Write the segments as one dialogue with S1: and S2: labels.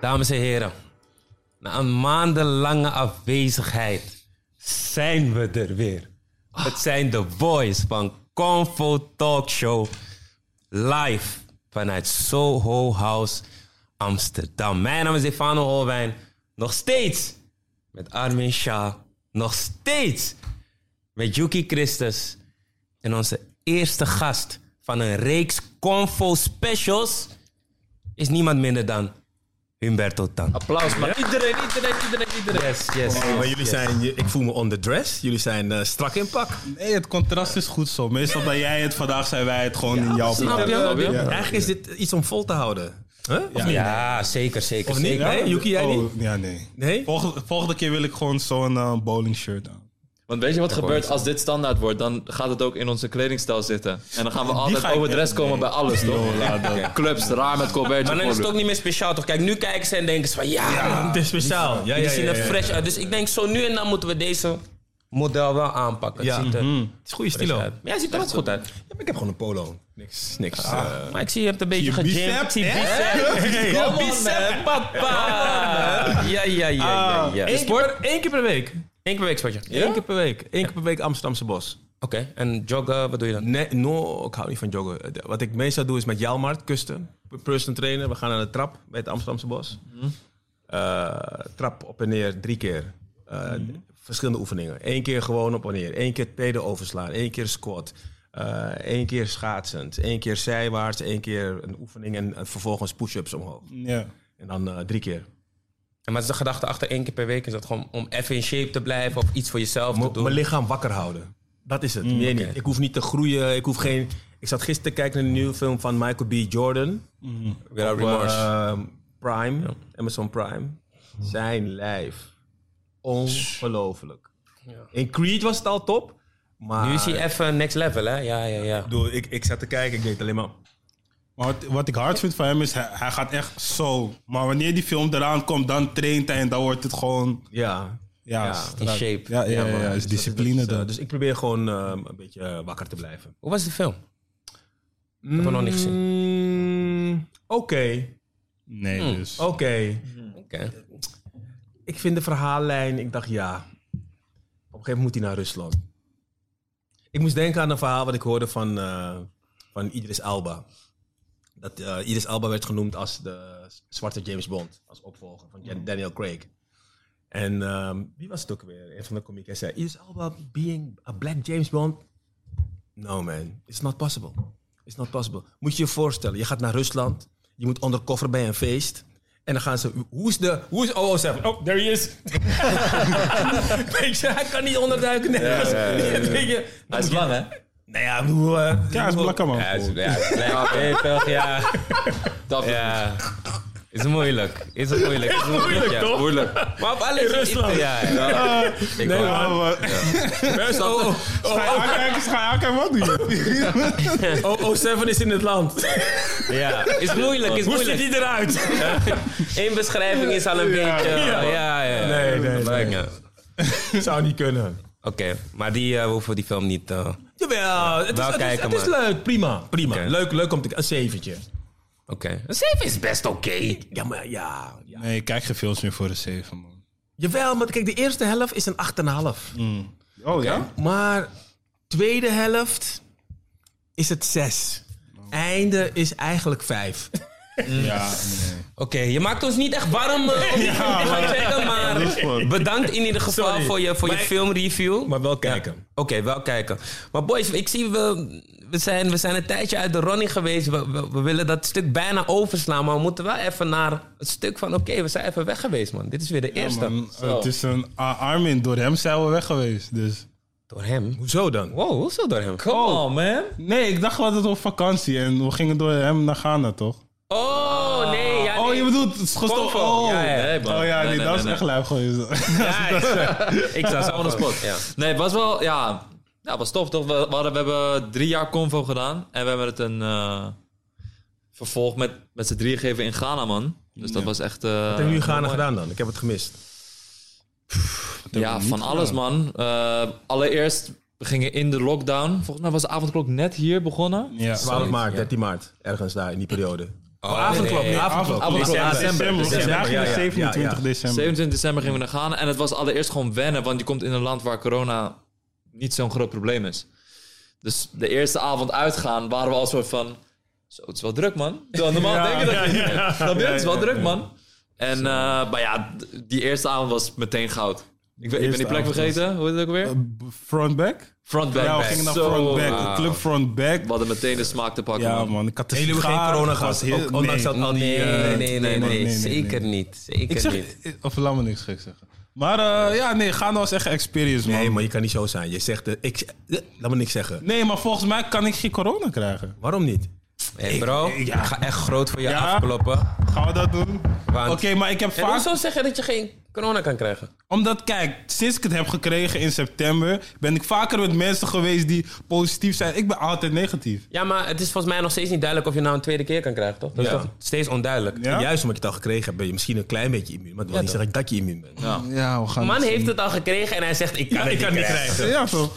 S1: dames en heren. Na een maandenlange afwezigheid zijn we er weer. Het zijn de boys van Convo Talk Show live vanuit Soho House Amsterdam. Mijn naam is Stefano Holwijn. Nog steeds met Armin Shah. Nog steeds met Yuki Christus. En onze eerste gast van een reeks Convo specials is niemand minder dan Humberto Tan.
S2: Applaus, maar iedereen, iedereen, iedereen, iedereen.
S1: Yes, yes.
S3: Oh, maar jullie zijn, ik voel me on the dress. Jullie zijn eh, strak in pak.
S4: Nee, het contrast is goed zo. Meestal ben jij het, vandaag zijn wij het gewoon in jouw
S3: Snap
S4: plaats.
S3: je?
S2: snap je.
S3: Ja. Eigenlijk is dit iets om vol te houden. Huh? Of niet?
S1: Ja, zeker, zeker.
S3: Of niet?
S1: zeker.
S3: Nee, Yuki, jij
S4: Oh,
S3: niet?
S4: Ja, nee.
S3: Nee?
S4: Volgende, volgende keer wil ik gewoon zo'n eh, bowling shirt aan.
S2: Want weet je wat gebeurt als dit standaard wordt? Dan gaat het ook in onze kledingstijl zitten. En dan gaan we altijd
S4: ga ik
S2: overdress
S4: echt-
S2: komen bij alles, toch? Clubs, raar met Colbert.
S1: Maar dan is het ook niet meer speciaal, toch? Kijk, nu kijken ze en denken ze van ja,
S3: Het is speciaal. Ja,
S1: jullie
S3: ja,
S1: zien
S3: ja,
S1: er
S3: ja.
S1: fresh uit. Dus ik denk zo nu en dan moeten we deze model wel aanpakken.
S3: Ja. Mhm.
S1: Het ziet er
S3: Het is goede stilo.
S1: uit. Maar jij ziet er ook goed uit.
S3: Ja, maar ik heb gewoon een polo. Niks, niks. eh,
S1: Maar ik zie je hebt een beetje
S4: je
S1: gejamd.
S4: bicep?
S1: Ik zie
S4: Hè?
S1: bicep. Ja, bicep, papa. Ja, ja, ja, ja. ja.
S3: één keer per- één Ah. keer per week.
S1: Eén keer per week spotje. Oké,
S3: Eén keer per week. Eén keer per week Amsterdamse bos.
S1: en joggen, wat doe je dan?
S3: Nee, no, ik hou niet van joggen. Eh, De- Wat ik meestal doe is met Jalmart, kusten. Person trainen. We gaan naar de trap bij het Amsterdamse bos. Eh, trap op en neer drie keer. Eh, Verschillende oefeningen. Eén keer gewoon op en neer. Eén keer peden overslaan. Eén keer squat. Eh, Eén keer schaatsend. Eén keer zijwaarts. Eén keer een oefening. En, en vervolgens push-ups omhoog.
S4: Ja.
S3: En dan eh, drie keer.
S1: En wat is de gedachte achter één keer per week? Is dat gewoon om even in shape te blijven of iets voor jezelf te
S3: M-
S1: doen?
S3: Mijn lichaam wakker houden. Dat is het.
S1: Mm,
S3: Meer niet. Ik hoef niet te groeien. Ik hoef geen. Ik zat gisteren te kijken naar een nieuwe film van Michael B. Jordan.
S1: Without
S3: Op,
S1: remorse.
S3: ehm, Prime, Amazon Prime.
S1: Mhm.
S3: Zijn lijf. Ongelooflijk. In Creed was het al top. Maar
S1: nu is hij even next level, hè? Ja, ja, ja.
S3: Ik bedoel, ik, ik zat te kijken, ik deed alleen maar.
S4: Maar wat, wat ik hard vind van hem is, hij, hij gaat echt zo. Maar wanneer die film eraan komt, dan traint hij en dan wordt het gewoon...
S3: Ja.
S4: Ja,
S3: Ja,
S4: strak.
S1: In shape.
S4: Ja, ja, ja, ja, is
S3: Dus dat
S4: discipline
S3: dus, eh,
S4: daar.
S3: Dus ik probeer gewoon ehm, een beetje eh, wakker te blijven.
S1: Hoe was de film? Hebben we nog niet gezien.
S3: Mm, Oké,
S4: Nee, dus...
S3: oké.
S1: Oké.
S3: Ik vind de verhaallijn, ik dacht ja. Op een gegeven moment moet hij naar Rusland. Ik moest denken aan een verhaal wat ik hoorde van, eh, van Idris Alba. Dat eh, Idris Alba werd genoemd als de zwarte James Bond, als opvolger van Jan- Daniel Craig. En ehm, wie was het ook weer? Een van de comieken zei: Idris Alba being a black James Bond? No man, it's not possible. It's not possible. Moet je je voorstellen, je gaat naar Rusland, je moet undercover bij een feest. En dan gaan ze, hoe is de, hoe is 007? Oh, there he is. Weet je, hij kan niet onderduiken nergens. Weet je,
S2: Hij is lang, hè?
S3: nou ja, hoe... eh,
S4: Ja, hij is
S3: hoe-
S4: blakker man.
S1: Ja, het is, ja, het is lekker. Weet je toch? ja.
S2: Dat
S1: ja. Is moeilijk. Is het moeilijk? Is het moeilijk, ja.
S2: moeilijk.
S1: Maar op alles in Rusland. Ja, ja. Ik
S3: Nee,
S1: hoor.
S3: man.
S4: Ja, maar-
S3: Best- oh, oh,
S4: Ga je aankijken, ga je aankijken, wat doe je?
S3: oh, 007 is in het land.
S1: ja. Is moeilijk, is
S3: Hoe ziet
S1: moeilijk.
S3: hij eruit?
S1: Eén beschrijving is al een beetje... Ja, ja.
S3: Nee, nee,
S1: Maar,
S3: nee.
S1: ja.
S3: Zou niet kunnen.
S1: Oké, maar die eh, we hoeven die film niet... eh, Oké.
S3: Jawel, het is,
S1: wel
S3: het is,
S1: kijken,
S3: het is leuk. Prima, prima.
S1: Oké.
S3: Leuk, leuk om te... Een zeventje.
S1: Een 7 is best oké.
S3: Ja, maar ja, ja.
S4: Nee, ik kijk geen films meer voor de 7, man.
S3: Jawel, maar kijk, de eerste helft is een 8,5.
S4: Oh ja?
S3: Maar tweede helft is het 6. Einde is eigenlijk 5.
S4: Ja, nee.
S1: Oké, je maakt ons niet echt warm eh, om die film te gaan checken, maar bedankt in ieder geval
S3: Sorry.
S1: voor je, voor je
S3: Maar-
S1: filmreview.
S3: Maar wel
S1: Ja.
S3: kijken.
S1: Oké, wel kijken. Maar boys, ik zie, we, we, zijn, we zijn een tijdje uit de running geweest. We, we, we willen dat stuk bijna overslaan, maar we moeten wel even naar het stuk van... Oké, we zijn even weg geweest, man. Dit is weer de eerste.
S4: Man, het is een A- Armin, door hem zijn we weg geweest. Dus.
S1: Door hem?
S3: Hoezo dan?
S1: Wow, hoe zo door hem?
S2: Come on, man.
S4: Nee, ik dacht altijd op vakantie en we gingen door hem naar Ghana, toch?
S1: Oh, nee. Ja,
S4: Oh,
S1: nee.
S4: je bedoelt, het is gestopt.
S1: Convo.
S4: Oh.
S1: Ja, ja.
S2: Nee, man.
S4: oh ja,
S2: Nee,
S4: nee,
S2: nee,
S4: dat is
S2: nee,
S4: echt lui geweest.
S1: Ja, ik- ik zag ze
S2: On the spot.
S1: Ja.
S2: Nee, het was wel, ja, ja, het was tof toch? We, we hadden, we hebben drie jaar convo gedaan en we hebben het een eh, vervolg met, met z'n drieën gegeven in Ghana, man. Dus dat was echt. eh,
S3: Wat hebben jullie Ghana gedaan dan? Ik heb het gemist.
S2: Ja, van alles, man. Eh, allereerst, we gingen in de lockdown. Volgens mij was de avondklok net hier begonnen.
S4: Ja.
S3: 12 maart, 13 maart. Ergens daar in die periode. avondklok,
S1: Oh, nee,
S3: avondklok.
S2: avondklok.
S3: December,
S4: December.
S3: december,
S4: Vandaag
S3: ja,
S4: ging het
S3: ja,
S4: 27
S3: ja, ja.
S4: december.
S2: 27 december gingen we naar Ghana. En het was allereerst gewoon wennen, want je komt in een land waar corona niet zo'n groot probleem is. Dus de eerste avond uitgaan waren we al soort van... Zo, het is wel druk, man. Terwijl normaal
S4: Ja,
S2: denk je dat
S4: ja,
S2: je...
S4: ja.
S2: Dan ben je, het is wel
S4: Ja, ja,
S2: druk,
S4: ja.
S2: man. En, eh, maar ja, d- die eerste avond was meteen goud. Ik, ben- ik ben
S4: Eerste
S2: die plek
S4: avond
S2: vergeten. Hoe heet het ook weer?
S4: Eh, Frontback?
S2: Frontback.
S4: Ja, we
S2: back.
S4: gingen naar
S2: Zo,
S4: Frontback.
S2: ah.
S4: Club Frontback.
S2: We hadden meteen de smaak te pakken,
S4: Ja,
S2: man.
S4: man. Ik had de
S3: Jullie hebben geen
S4: sigaar,
S3: corona
S4: ik
S3: gehad,
S4: was heel-
S3: ook ondanks
S4: nee.
S3: dat al die...
S1: Nee,
S3: eh,
S1: nee, nee, nee,
S4: nee, nee,
S1: zeker niet. Zeker
S4: Ik zeg... eh,
S1: niet.
S4: Of laat me niks gek zeggen. Maar eh, ja, nee, Ghana was echt een experience, man.
S3: Nee, maar je kan niet zo zijn. Je zegt, eh, ik, eh, laat me niks zeggen.
S4: Nee, maar volgens mij kan ik geen corona krijgen.
S3: Waarom niet?
S1: Hey bro,
S4: ik-
S1: ik,
S4: ja.
S1: ga echt groot voor je
S4: Ja.
S1: afkloppen.
S4: Gaan we dat doen? Oké,
S1: Want-
S4: maar ik heb
S1: En
S4: vaak...
S1: hoezo zeg je dat je geen corona kan krijgen?
S4: Omdat, kijk, sinds ik het heb gekregen in september... ben ik vaker met mensen geweest die positief zijn. Ik ben altijd negatief.
S1: Ja, maar het is volgens mij nog steeds niet duidelijk of je nou een tweede keer kan krijgen, toch? Dat is
S4: Ja.
S1: toch steeds onduidelijk.
S4: Ja?
S3: En juist omdat je het al gekregen hebt, ben je misschien een klein beetje immuun. Maar dat wil niet zeggen dat je immuun bent.
S2: Ja.
S4: Ja, we gaan...
S1: De Oh. man heeft het al gekregen en hij zegt, ik kan het niet krijgen.
S4: Ja, zo.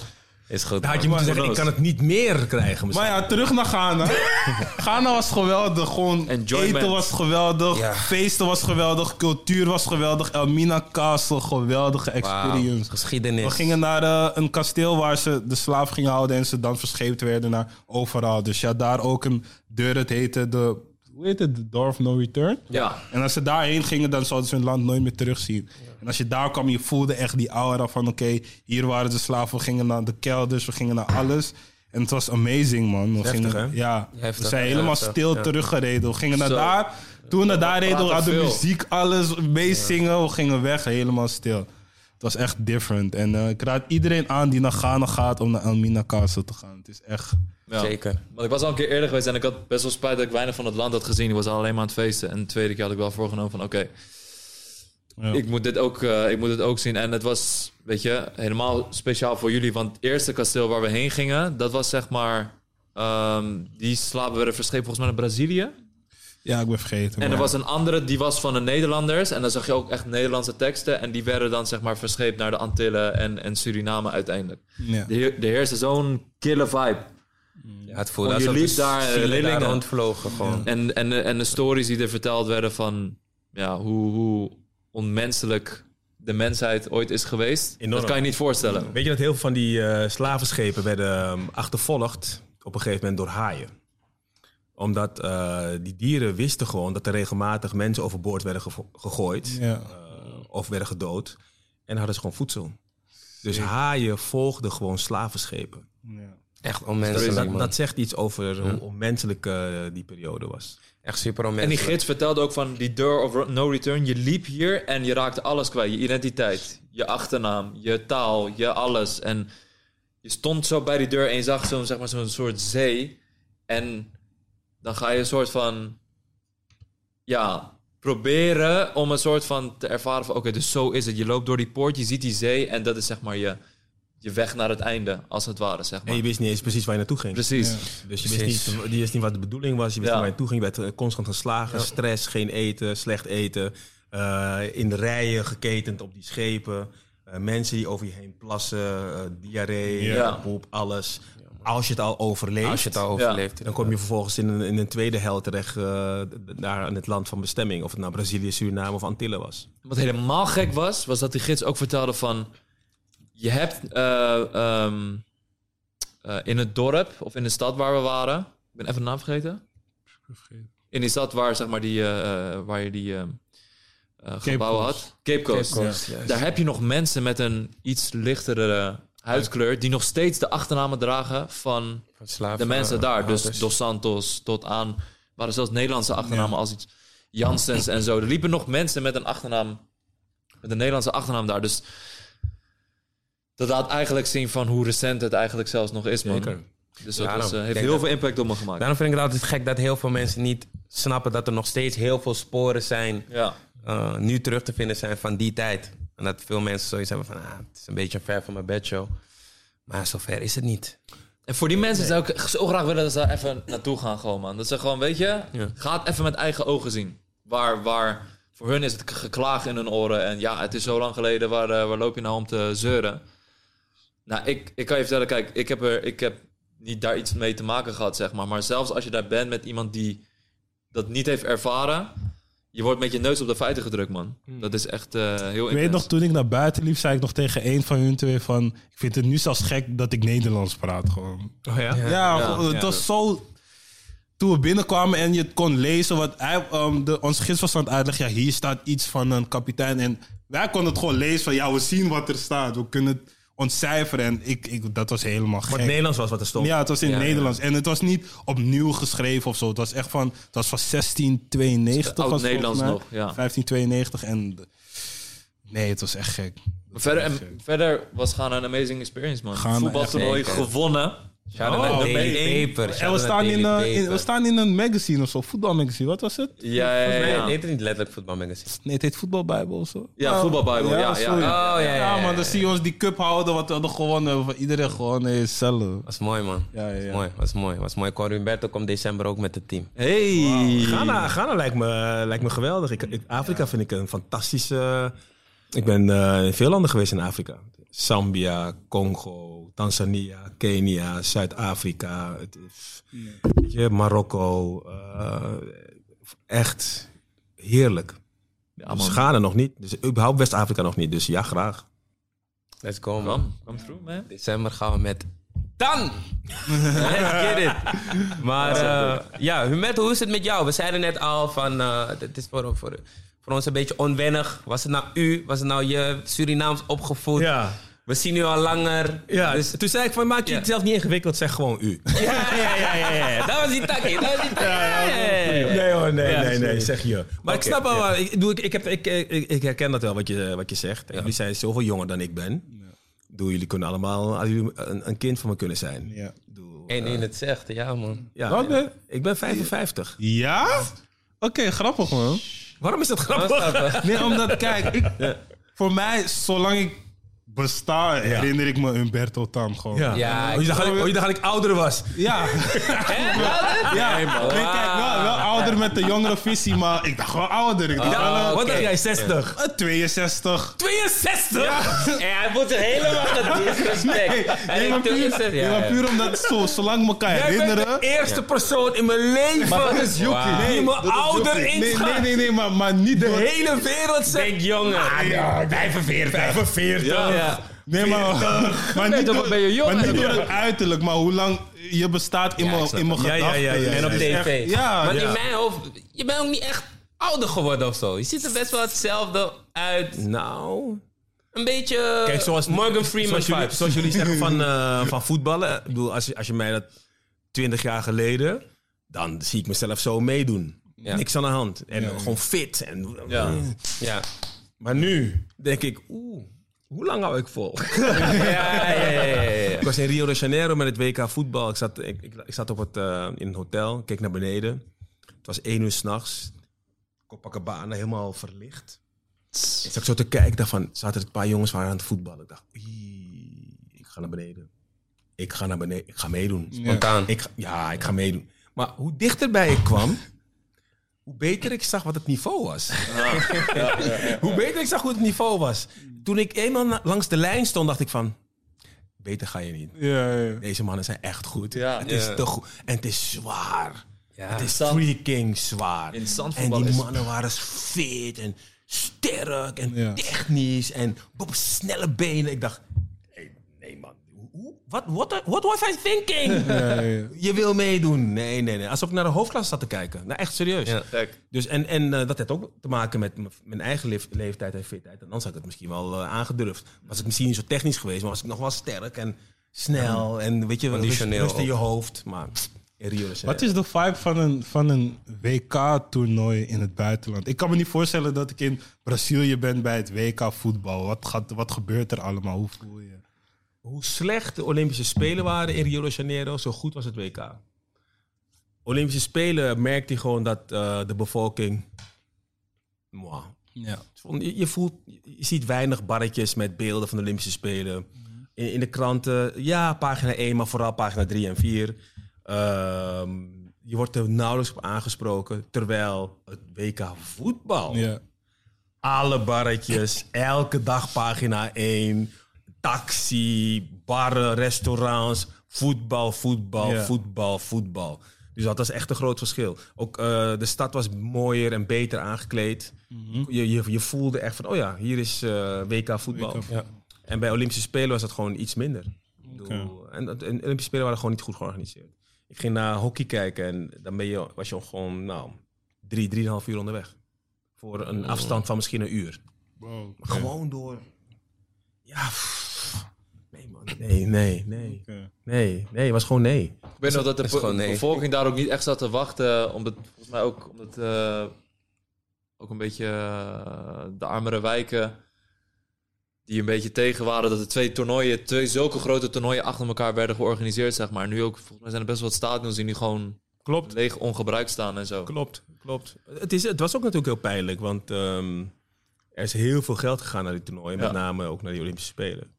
S1: Is goed.
S3: Dan had je
S1: man.
S3: moeten zeggen, ik
S1: Goed.
S3: kan het niet meer krijgen
S4: Maar
S3: misschien.
S4: ja, terug naar Ghana. Ghana was geweldig. Gewoon
S2: Enjoyment.
S4: eten was geweldig.
S1: Ja.
S4: Feesten was geweldig. Cultuur was geweldig. Elmina Castle, geweldige
S1: Wauw,
S4: experience.
S1: geschiedenis.
S4: We gingen naar eh, een kasteel waar ze de slaaf gingen houden en ze dan verscheept werden naar overal. Dus ja, daar ook een deur, het heette de, hoe heet het, de Door of No Return.
S2: Ja.
S4: En als ze daarheen gingen, dan zouden ze hun land nooit meer terugzien. En als je daar kwam, je voelde echt die aura van oké, hier waren de slaven, we gingen naar de kelders, we gingen naar alles. En het was amazing, man. We
S3: Heftig,
S4: gingen,
S3: hè?
S4: Ja,
S1: Heftig,
S4: we zijn helemaal
S1: heftig,
S4: stil
S1: ja.
S4: teruggereden. We gingen naar
S2: Zo.
S4: daar, toen naar daar reden, we
S2: praten
S4: hadden
S2: veel.
S4: muziek, alles, meezingen. We gingen weg, helemaal stil. Het was echt different. En eh, ik raad iedereen aan die naar Ghana gaat om naar Elmina Castle te gaan. Het is echt...
S2: Ja.
S1: Zeker.
S2: Want ik was al een keer eerder geweest en ik had best wel spijt dat ik weinig van het land had gezien. Ik was alleen maar aan het feesten. En de tweede keer had ik wel voorgenomen van oké,
S4: Ja.
S2: ik, moet dit ook, eh, ik moet dit ook zien. En het was, weet je, helemaal speciaal voor jullie. Want het eerste kasteel waar we heen gingen, dat was zeg maar... ehm, die slaven werden verscheept volgens mij naar Brazilië.
S4: Ja, ik ben vergeten.
S2: En
S4: maar-
S2: er was een andere, die was van de Nederlanders. En dan zag je ook echt Nederlandse teksten. En die werden dan zeg maar verscheept naar de Antillen en, en Suriname uiteindelijk.
S4: Ja.
S2: Er heer- er heerste zo'n kille vibe.
S1: Ja, het voelde
S2: Oh, je
S1: alsof
S2: liep
S1: de
S2: daar, eh,
S1: zielen
S2: rillingen.
S1: daar rondvlogen gewoon.
S2: En, en, de- en de stories die er verteld werden van ja, hoe, hoe onmenselijk de mensheid ooit is geweest.
S3: Enorm.
S2: Dat kan je niet voorstellen.
S3: Weet je dat heel veel van die eh, slavenschepen werden ehm, achtervolgd op een gegeven moment door haaien? Omdat eh, die dieren wisten gewoon dat er regelmatig mensen overboord werden gevo- gegooid.
S4: Ja.
S3: eh, of werden gedood. En hadden ze gewoon voedsel. Dus haaien volgden gewoon slavenschepen.
S4: Ja.
S1: Echt
S3: Dus
S1: onmenselijk,
S3: dat,
S1: man.
S3: dat zegt iets over hoe onmenselijk eh, die periode was.
S1: Echt super
S2: En die
S1: onmenselijk.
S2: gids vertelde ook van die door of no return. Je liep hier en je raakte alles kwijt. Je identiteit, je achternaam, je taal, je alles. En je stond zo bij die deur en je zag zo'n zeg maar, zo'n soort zee. En dan ga je een soort van... Ja, proberen om een soort van te ervaren van... Oké, dus zo is het. Je loopt door die poort, je ziet die zee. En dat is zeg maar je, je weg naar het einde, als het ware, zeg
S3: En
S2: maar.
S3: je wist niet eens precies waar je naartoe ging.
S2: Precies.
S3: Dus je
S1: Precies.
S3: wist, niet, je wist niet wat de bedoeling was, je
S2: Ja.
S3: wist niet waar je naartoe ging. Je werd eh, constant geslagen, stress, geen eten, slecht eten. eh, in de rijen geketend op die schepen. eh, mensen die over je heen plassen, eh, diarree,
S2: Ja.
S3: eh, poep, alles. Als je het al overleeft,
S1: Als je het al overleeft.
S3: dan kom je vervolgens in een, in een tweede hel terecht eh, d- naar het land van bestemming. Of het nou Brazilië, Suriname of Antillen was.
S2: Wat helemaal gek was, was dat die gids ook vertelde van... Je hebt eh, ehm, eh, in het dorp of in de stad waar we waren... Ik ben even de naam vergeten. In die stad waar, zeg maar, die, eh, eh, waar je die ehm, eh, gebouwen
S4: Coast.
S2: had. Cape Coast.
S1: Coast,
S2: Ja.
S1: yes.
S2: Daar heb je nog mensen met een iets lichtere huidskleur... die nog steeds de achternamen dragen van
S1: Van slaven,
S2: de mensen
S1: eh,
S2: daar. Dus
S1: houders.
S2: Dos Santos tot aan... waren zelfs Nederlandse achternamen als iets... Janssens en zo. Er liepen nog mensen met een achternaam... met een Nederlandse achternaam daar. Dus dat laat eigenlijk zien van hoe recent het eigenlijk zelfs nog is, man.
S3: Zeker.
S2: Dus dat
S1: Ja,
S2: was,
S1: nou,
S2: eh,
S1: ik
S2: heeft
S1: denk
S2: heel
S1: dat-
S2: veel impact op me gemaakt.
S1: Daarom vind ik het altijd gek dat heel veel mensen niet snappen dat er nog steeds heel veel sporen zijn
S2: Ja.
S1: eh, nu terug te vinden zijn van die tijd. En dat veel mensen zoiets hebben van, ah, het is een beetje ver van mijn bedshow. Maar zover is het niet.
S2: En voor die mensen zou ik zo graag willen dat ze daar even naartoe gaan, gewoon, man. Dat ze gewoon, weet je,
S1: Ja.
S2: ga het even met eigen ogen zien. Waar, waar, voor hun is het geklaag in hun oren. En ja, het is zo lang geleden, waar, eh, waar loop je nou om te zeuren? Nou, ik, ik kan je vertellen, kijk, ik heb, er, ik heb niet daar iets mee te maken gehad, zeg maar. Maar zelfs als je daar bent met iemand die dat niet heeft ervaren, je wordt met je neus op de feiten gedrukt, man. Dat is echt eh, heel
S4: Ik weet nog, toen ik naar buiten liep, zei ik nog tegen een van hun twee van... Ik vind het nu zelfs gek dat ik Nederlands praat, gewoon.
S3: Oh ja?
S4: Ja,
S2: ja,
S4: gewoon, het was zo... Toen we binnenkwamen en je het kon lezen, wat hij, ehm, de, ons gids was aan het uitleggen. Ja, hier staat iets van een kapitein. En wij konden het gewoon lezen van, ja, we zien wat er staat. We kunnen het ontcijferen. En ik, ik, dat was helemaal
S3: Wat
S4: gek.
S3: Nederlands was wat er stond.
S4: Ja, het was in
S2: Ja, ja.
S4: Nederlands. En het was niet opnieuw geschreven of zo. Het was echt van, het was van 1692. was volgens
S2: Oud-Nederlands
S4: mij.
S2: nog, ja.
S4: 1592 en... de- Nee, het was echt gek.
S2: Maar Verder, en, verder was Ghana een amazing experience, man.
S4: Ghana,
S2: Voetbaltoernooi
S1: echt.
S2: gewonnen.
S1: Shout-out naar
S4: Oh,
S1: Daily
S4: oké.
S1: Paper.
S4: En we
S1: Shout-out
S4: staan,
S1: naar
S4: in,
S1: Daily
S4: eh, in- we
S1: Paper.
S4: staan in een magazine of zo, voetbalmagazine. Wat was het?
S2: Ja, ja,
S1: Nee,
S2: ja.
S1: het heet niet letterlijk voetbalmagazine.
S4: Nee, het heet Voetbalbijbel of zo.
S2: Ja, Voetbalbijbel, ja, ja,
S4: sorry.
S2: ja.
S1: Oh, ja, ja, ja,
S4: man,
S1: ja.
S4: dan zie je ons die cup houden, wat we hadden gewonnen. Van iedereen gewoon, nee, zelf.
S1: Was mooi, man.
S4: Ja, ja, ja.
S1: Was mooi, was mooi. Was mooi. Cor Humberto komt december ook met het team.
S2: Hey!
S3: Ghana, Ghana lijkt, me, lijkt me geweldig. Ik, ik- Afrika vind ik een fantastische... Ik ben eh, in veel landen geweest in Afrika. Zambia, Congo, Tanzania, Kenia, Zuid-Afrika. Het is- weet je, Marokko. eh, echt heerlijk.
S2: Ja,
S3: dus
S2: man.
S3: Ghana nog niet. Dus überhaupt West-Afrika nog niet. Dus ja, graag.
S1: Let's go, man.
S2: Kom, kom through, man.
S1: December gaan we met Dan! Let's get it! Maar eh, ja, Humet, hoe is het met jou? We zeiden net al van, eh, het is voor, voor, voor ons een beetje onwennig. Was het nou u? Was het nou je Surinaams opgevoed? We zien u al langer.
S3: ja
S1: Dus,
S3: toen zei ik van maak je
S1: Ja.
S3: het zelf niet ingewikkeld. Zeg gewoon u.
S1: ja, ja, ja, ja, ja. Dat was die takkie. Dat was die takkie. Ja, ja, ja, ja.
S3: Nee hoor, nee,
S1: Ja,
S3: nee, nee,
S1: sorry.
S3: zeg je. Maar ik
S1: Oké,
S3: snap wel, waar- ik, bedoel, ik, ik, heb, ik, ik, ik herken dat wel wat je, wat je zegt. Jullie zijn zoveel jonger dan ik ben. Doe, jullie kunnen allemaal als jullie een, een kind van me kunnen zijn.
S4: Ja?
S3: Doe,
S1: En in het zegt, ja man.
S3: ja,
S4: Wat ben-
S3: ik ben 55.
S4: Ja? Oké, grappig, man.
S3: Waarom is
S1: Wat
S3: dat grappig?
S1: is dat, eh?
S4: Nee, omdat, kijk, ik- voor mij, zolang ik besta, herinner ik me Humberto Tan gewoon.
S3: Ja.
S1: Ja,
S3: oh, je dacht,
S4: ik-
S3: dat ik- oh, je dacht dat ik ouder was.
S4: Ja,
S1: Hè? Wat?
S4: ja. Nee, kijk, wel, wel ouder met de jongere visie, maar ik dacht wel ouder. Ik dacht wel, eh,
S1: Oké.
S3: Wat dacht jij, 60?
S4: eh, 62.
S3: 62?
S1: Ja, hij moet helemaal dat disrespect.
S4: Nee,
S1: Hij
S4: nee, maar
S1: denkt,
S4: puur,
S1: is het? Ja,
S4: nee, maar
S1: ja.
S4: puur omdat zo, zolang ik me kan
S3: Jij bent
S4: herinneren.
S3: de e- eerste persoon in mijn leven
S1: Wauw.
S3: die me ouder
S4: Nee, nee,
S3: inschat.
S4: nee, nee, maar, maar niet
S3: De
S4: door-
S3: hele wereld zegt... Ah,
S1: Denk jonger.
S4: Ja,
S1: 45.
S3: 45.
S1: Ja.
S4: Nee, maar, maar niet
S2: dan
S4: door,
S2: ben je jong
S4: maar niet door
S2: eigenlijk.
S4: het uiterlijk, maar hoe lang je bestaat in mijn
S1: ik snap
S4: in mijn
S3: het. Ja, ja,
S4: gedachten.
S3: ja, ja, ja.
S4: En op
S1: Op
S4: de-
S1: tv.
S4: ja.
S1: maar
S4: Ja.
S1: in mijn hoofd, je bent ook niet echt ouder geworden of zo. Je ziet er best wel hetzelfde uit.
S3: Nou,
S1: Een beetje
S3: Kijk, zoals,
S1: Eh, Morgan Freeman
S3: zoals jullie,
S1: vibes.
S3: zoals jullie zeggen van, eh, van voetballen. Ik bedoel, als je, als je mij dat 20 jaar geleden... dan zie ik mezelf zo meedoen.
S1: Ja.
S3: Niks aan de hand. En gewoon fit. En,
S2: Ja.
S1: Ja.
S3: Maar nu denk ik, oeh, hoe lang hou ik vol?
S1: Ja, ja, ja, ja, ja.
S3: ik was in Rio de Janeiro met het WK voetbal. Ik zat, ik, ik, ik zat op het, eh, in een hotel, keek naar beneden. Het was één uur s'nachts. Copacabana helemaal verlicht. Ik zat zo te kijken, dacht van, zaten er een paar jongens waren aan het voetballen. Ik dacht, "Ie, ik ga naar beneden. Ik ga naar beneden, ik ga meedoen.
S1: Spontaan.
S3: Ik ga- ja, ik ga meedoen. Maar hoe dichterbij ik kwam, hoe beter ik zag wat het niveau was.
S1: Ah.
S3: hoe beter ik zag hoe het niveau was. Toen ik eenmaal na- langs de lijn stond, dacht ik van... Beter ga je niet.
S4: Ja, ja.
S3: Deze mannen zijn echt goed.
S2: Ja.
S3: het is
S1: Ja.
S3: toch goed. En het is zwaar.
S1: Ja.
S3: Het is
S2: Zand-
S3: freaking zwaar.
S2: In
S3: En
S2: zandvoetbal
S3: die
S2: is-
S3: mannen waren fit en sterk en
S4: Ja.
S3: technisch en op snelle benen. Ik dacht, hey, nee man, hoe- hoe- wat what, what was I thinking?
S4: Ja, ja.
S3: Je wil meedoen. Nee, nee, nee. Alsof ik naar de hoofdklas zat te kijken. Nou, echt serieus.
S1: Ja.
S2: Kijk,
S3: Dus en, en eh, dat heeft ook te maken met m- mijn eigen leef- leeftijd en fitheid. En dan had ik het misschien wel eh, aangedurfd. Was ik misschien niet zo technisch geweest, maar was ik nog wel sterk en snel. En weet je, rust,
S1: Conditioneel
S3: rust in
S1: ook.
S3: je hoofd. Maar eh, pff, in Rio de
S4: Wat
S3: Janeiro.
S4: is de vibe van een, van een WK-toernooi in het buitenland? Ik kan me niet voorstellen dat ik in Brazilië ben bij het WK-voetbal. Wat, gaat, wat gebeurt er allemaal? Hoe voel je?
S3: Hoe slecht de Olympische Spelen waren in Rio de Janeiro, zo goed was het WK. Olympische Spelen merkte je gewoon dat eh, de bevolking... Mwah,
S4: Ja.
S3: Je, je voelt, je ziet weinig barretjes met beelden van de Olympische Spelen. In, in de kranten, ja, pagina 1, maar vooral pagina 3 en 4. Ehm, je wordt er nauwelijks op aangesproken. Terwijl het WK voetbal,
S4: ja.
S3: alle barretjes, elke dag pagina 1. Taxi, barren, restaurants, voetbal, voetbal,
S4: Ja.
S3: voetbal, voetbal. Dus dat was echt een groot verschil. Ook eh, de stad was mooier en beter aangekleed. je, je, je voelde echt van, oh ja, hier is eh, WK voetbal.
S4: WK.
S1: Ja.
S3: En bij Olympische Spelen was dat gewoon iets minder. Ik bedoel,
S4: Oké.
S3: En, dat- en Olympische Spelen waren gewoon niet goed georganiseerd. Ik ging naar hockey kijken en dan ben je, was je gewoon nou, drie, drieënhalf uur onderweg. Voor een afstand van misschien een uur.
S4: Wow.
S3: Gewoon door. Ja. pff. Nee, man. Nee, nee, nee.
S4: Oké.
S3: Nee, nee. Het was gewoon nee.
S2: Ik weet nog dat de
S1: is
S2: be-
S1: gewoon nee.
S2: bevolking daar ook niet echt zat te wachten. Omdat, volgens mij ook omdat eh, ook een beetje eh, de armere wijken die een beetje tegen waren dat er twee toernooien, twee zulke grote toernooien achter elkaar werden georganiseerd, zeg maar. Nu ook, volgens mij zijn er best wel wat stadions die nu gewoon
S3: Klopt.
S2: leeg ongebruikt staan en zo.
S3: Klopt, klopt. Het, is, het was ook natuurlijk heel pijnlijk, want ehm, er is heel veel geld gegaan naar die toernooien.
S2: Ja.
S3: Met name ook naar die Olympische Spelen.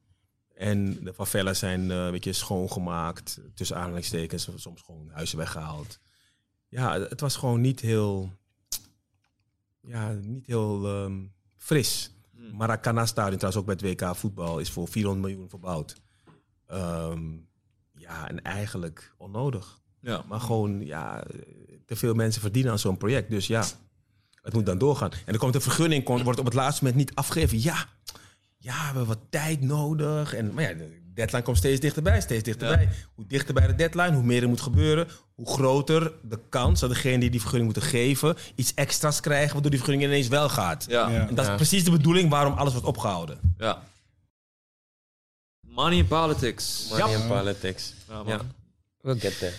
S3: En de favelas zijn eh, een beetje schoongemaakt, tussen aanhalingstekens, soms gewoon huizen weggehaald. Ja, het was gewoon niet heel, ja, niet heel ehm, fris.
S2: Hmm.
S3: Maracana Stadion, trouwens ook bij het WK voetbal, is voor 400 miljoen verbouwd. Ehm, ja, en eigenlijk onnodig.
S2: Ja.
S3: Maar gewoon, ja, te veel mensen verdienen aan zo'n project. Dus ja, het moet dan doorgaan. En dan komt de vergunning, kon- wordt op het laatste moment niet afgegeven. Ja, ja, we hebben wat tijd nodig. En, maar ja, de deadline komt steeds dichterbij, steeds dichterbij. Hoe dichter bij de deadline, hoe meer er moet gebeuren. Hoe groter de kans dat degene die die vergunning moeten geven... iets extra's krijgen, waardoor die vergunning ineens wel gaat.
S2: Ja.
S4: Ja.
S2: ja.
S3: En dat is
S1: Ja.
S3: precies de bedoeling waarom alles wordt opgehouden.
S2: Money in politics.
S1: Money and politics.
S2: Ja, man.
S1: Ja. We'll get there.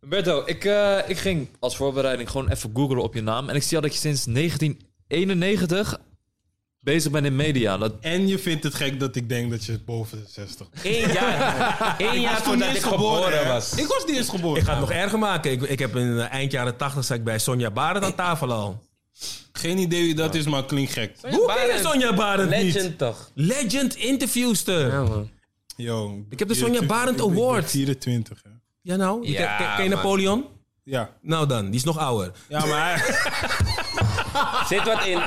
S2: Humberto, ik, eh, ik ging als voorbereiding gewoon even googlen op je naam. En ik zie al dat je sinds 1991 bezig bent in media. Dat,
S4: En je vindt het gek dat ik denk dat je boven de 60 bent.
S1: Eén jaar, één jaar voordat ik geboren,
S4: hè?
S1: was.
S4: Ik was niet eens geboren.
S3: Ik ga het nog erger maken. Ik, ik heb in eh, eind jaren tachtig zat ik bij Sonja Barend aan tafel al.
S4: Geen idee wie dat is, maar klinkt gek.
S3: Hoe ken je Sonja Barend niet?
S1: Legend Nou. toch?
S3: Legend interviewster.
S1: Ja,
S3: Ja,
S1: man.
S4: Yo,
S3: Ik heb de Sonja
S4: 24
S3: Barend
S4: ik ben- ik ben
S3: Award.
S4: 24, hè?
S3: nou, die
S1: Ja,
S3: ken- ken, ken je
S1: man.
S3: Napoleon?
S4: Ja.
S3: Nou dan, die is nog ouder.
S4: Ja, maar hij-
S1: Zit wat in.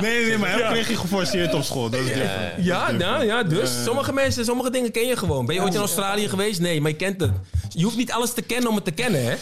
S4: Nee, nee, maar hem kreeg je geforceerd op school. Dat is different.
S3: Ja, nou, ja, dus sommige mensen, sommige dingen ken je gewoon. Ben je ooit in Australië geweest? Nee, maar je kent het. Je hoeft niet alles te kennen om het te kennen, hè?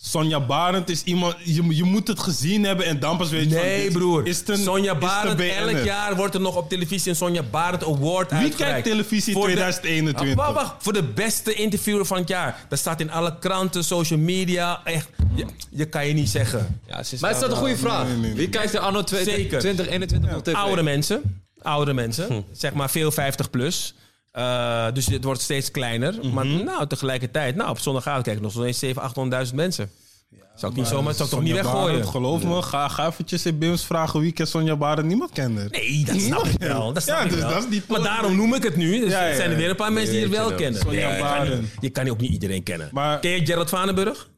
S4: Sonja Barend is iemand... Je, je moet het gezien hebben en dan pas weet je... van,
S3: Nee,
S4: dit
S3: broer.
S4: is het een-
S3: Sonja
S4: is het een
S3: Barend, elk
S4: BN'er?
S3: jaar wordt er nog op televisie een Sonja Barend Award
S4: Wie
S3: uitgereikt.
S4: kijkt televisie
S3: Voor de-
S4: 2021?
S3: Wacht, wacht. Voor de beste interviewer van het jaar. Dat staat in alle kranten, social media. Echt, je, je kan je niet zeggen.
S1: Ja, ze
S2: maar is dat een goede vraag?
S4: nee, nee, nee.
S2: Wie kijkt er anno twee-
S3: Zeker.
S2: 2021 op tv?
S3: Oude mensen. Oude mensen.
S4: Hm.
S3: Zeg maar veel 50 plus. Eh, dus het wordt steeds kleiner.
S4: Mhm.
S3: Maar nou, tegelijkertijd, nou, op zondagavond kijken nog zo'n eens 700.000, 800.000 mensen. zou ik niet zomaar, zou ik toch niet
S4: Sonja
S3: weggooien?
S4: Barend, geloof me, ga, ga eventjes in Bims vragen wie kent Sonja Barend. Niemand kende. het.
S3: Nee, dat snap ik wel. Dat snap
S4: Ja,
S3: ik
S4: dus
S3: wel.
S4: dat is niet
S3: maar
S4: nodig.
S3: daarom noem ik het nu. Dus
S4: Ja, ja,
S3: er zijn er
S4: ja.
S3: weer een paar mensen die het
S1: weet
S3: wel
S1: je
S3: kennen.
S4: Sonja
S3: Nee, je kan
S4: Barend.
S3: niet- Je kan ook niet iedereen kennen.
S4: Maar-
S3: Ken je Gerald Vanenburg?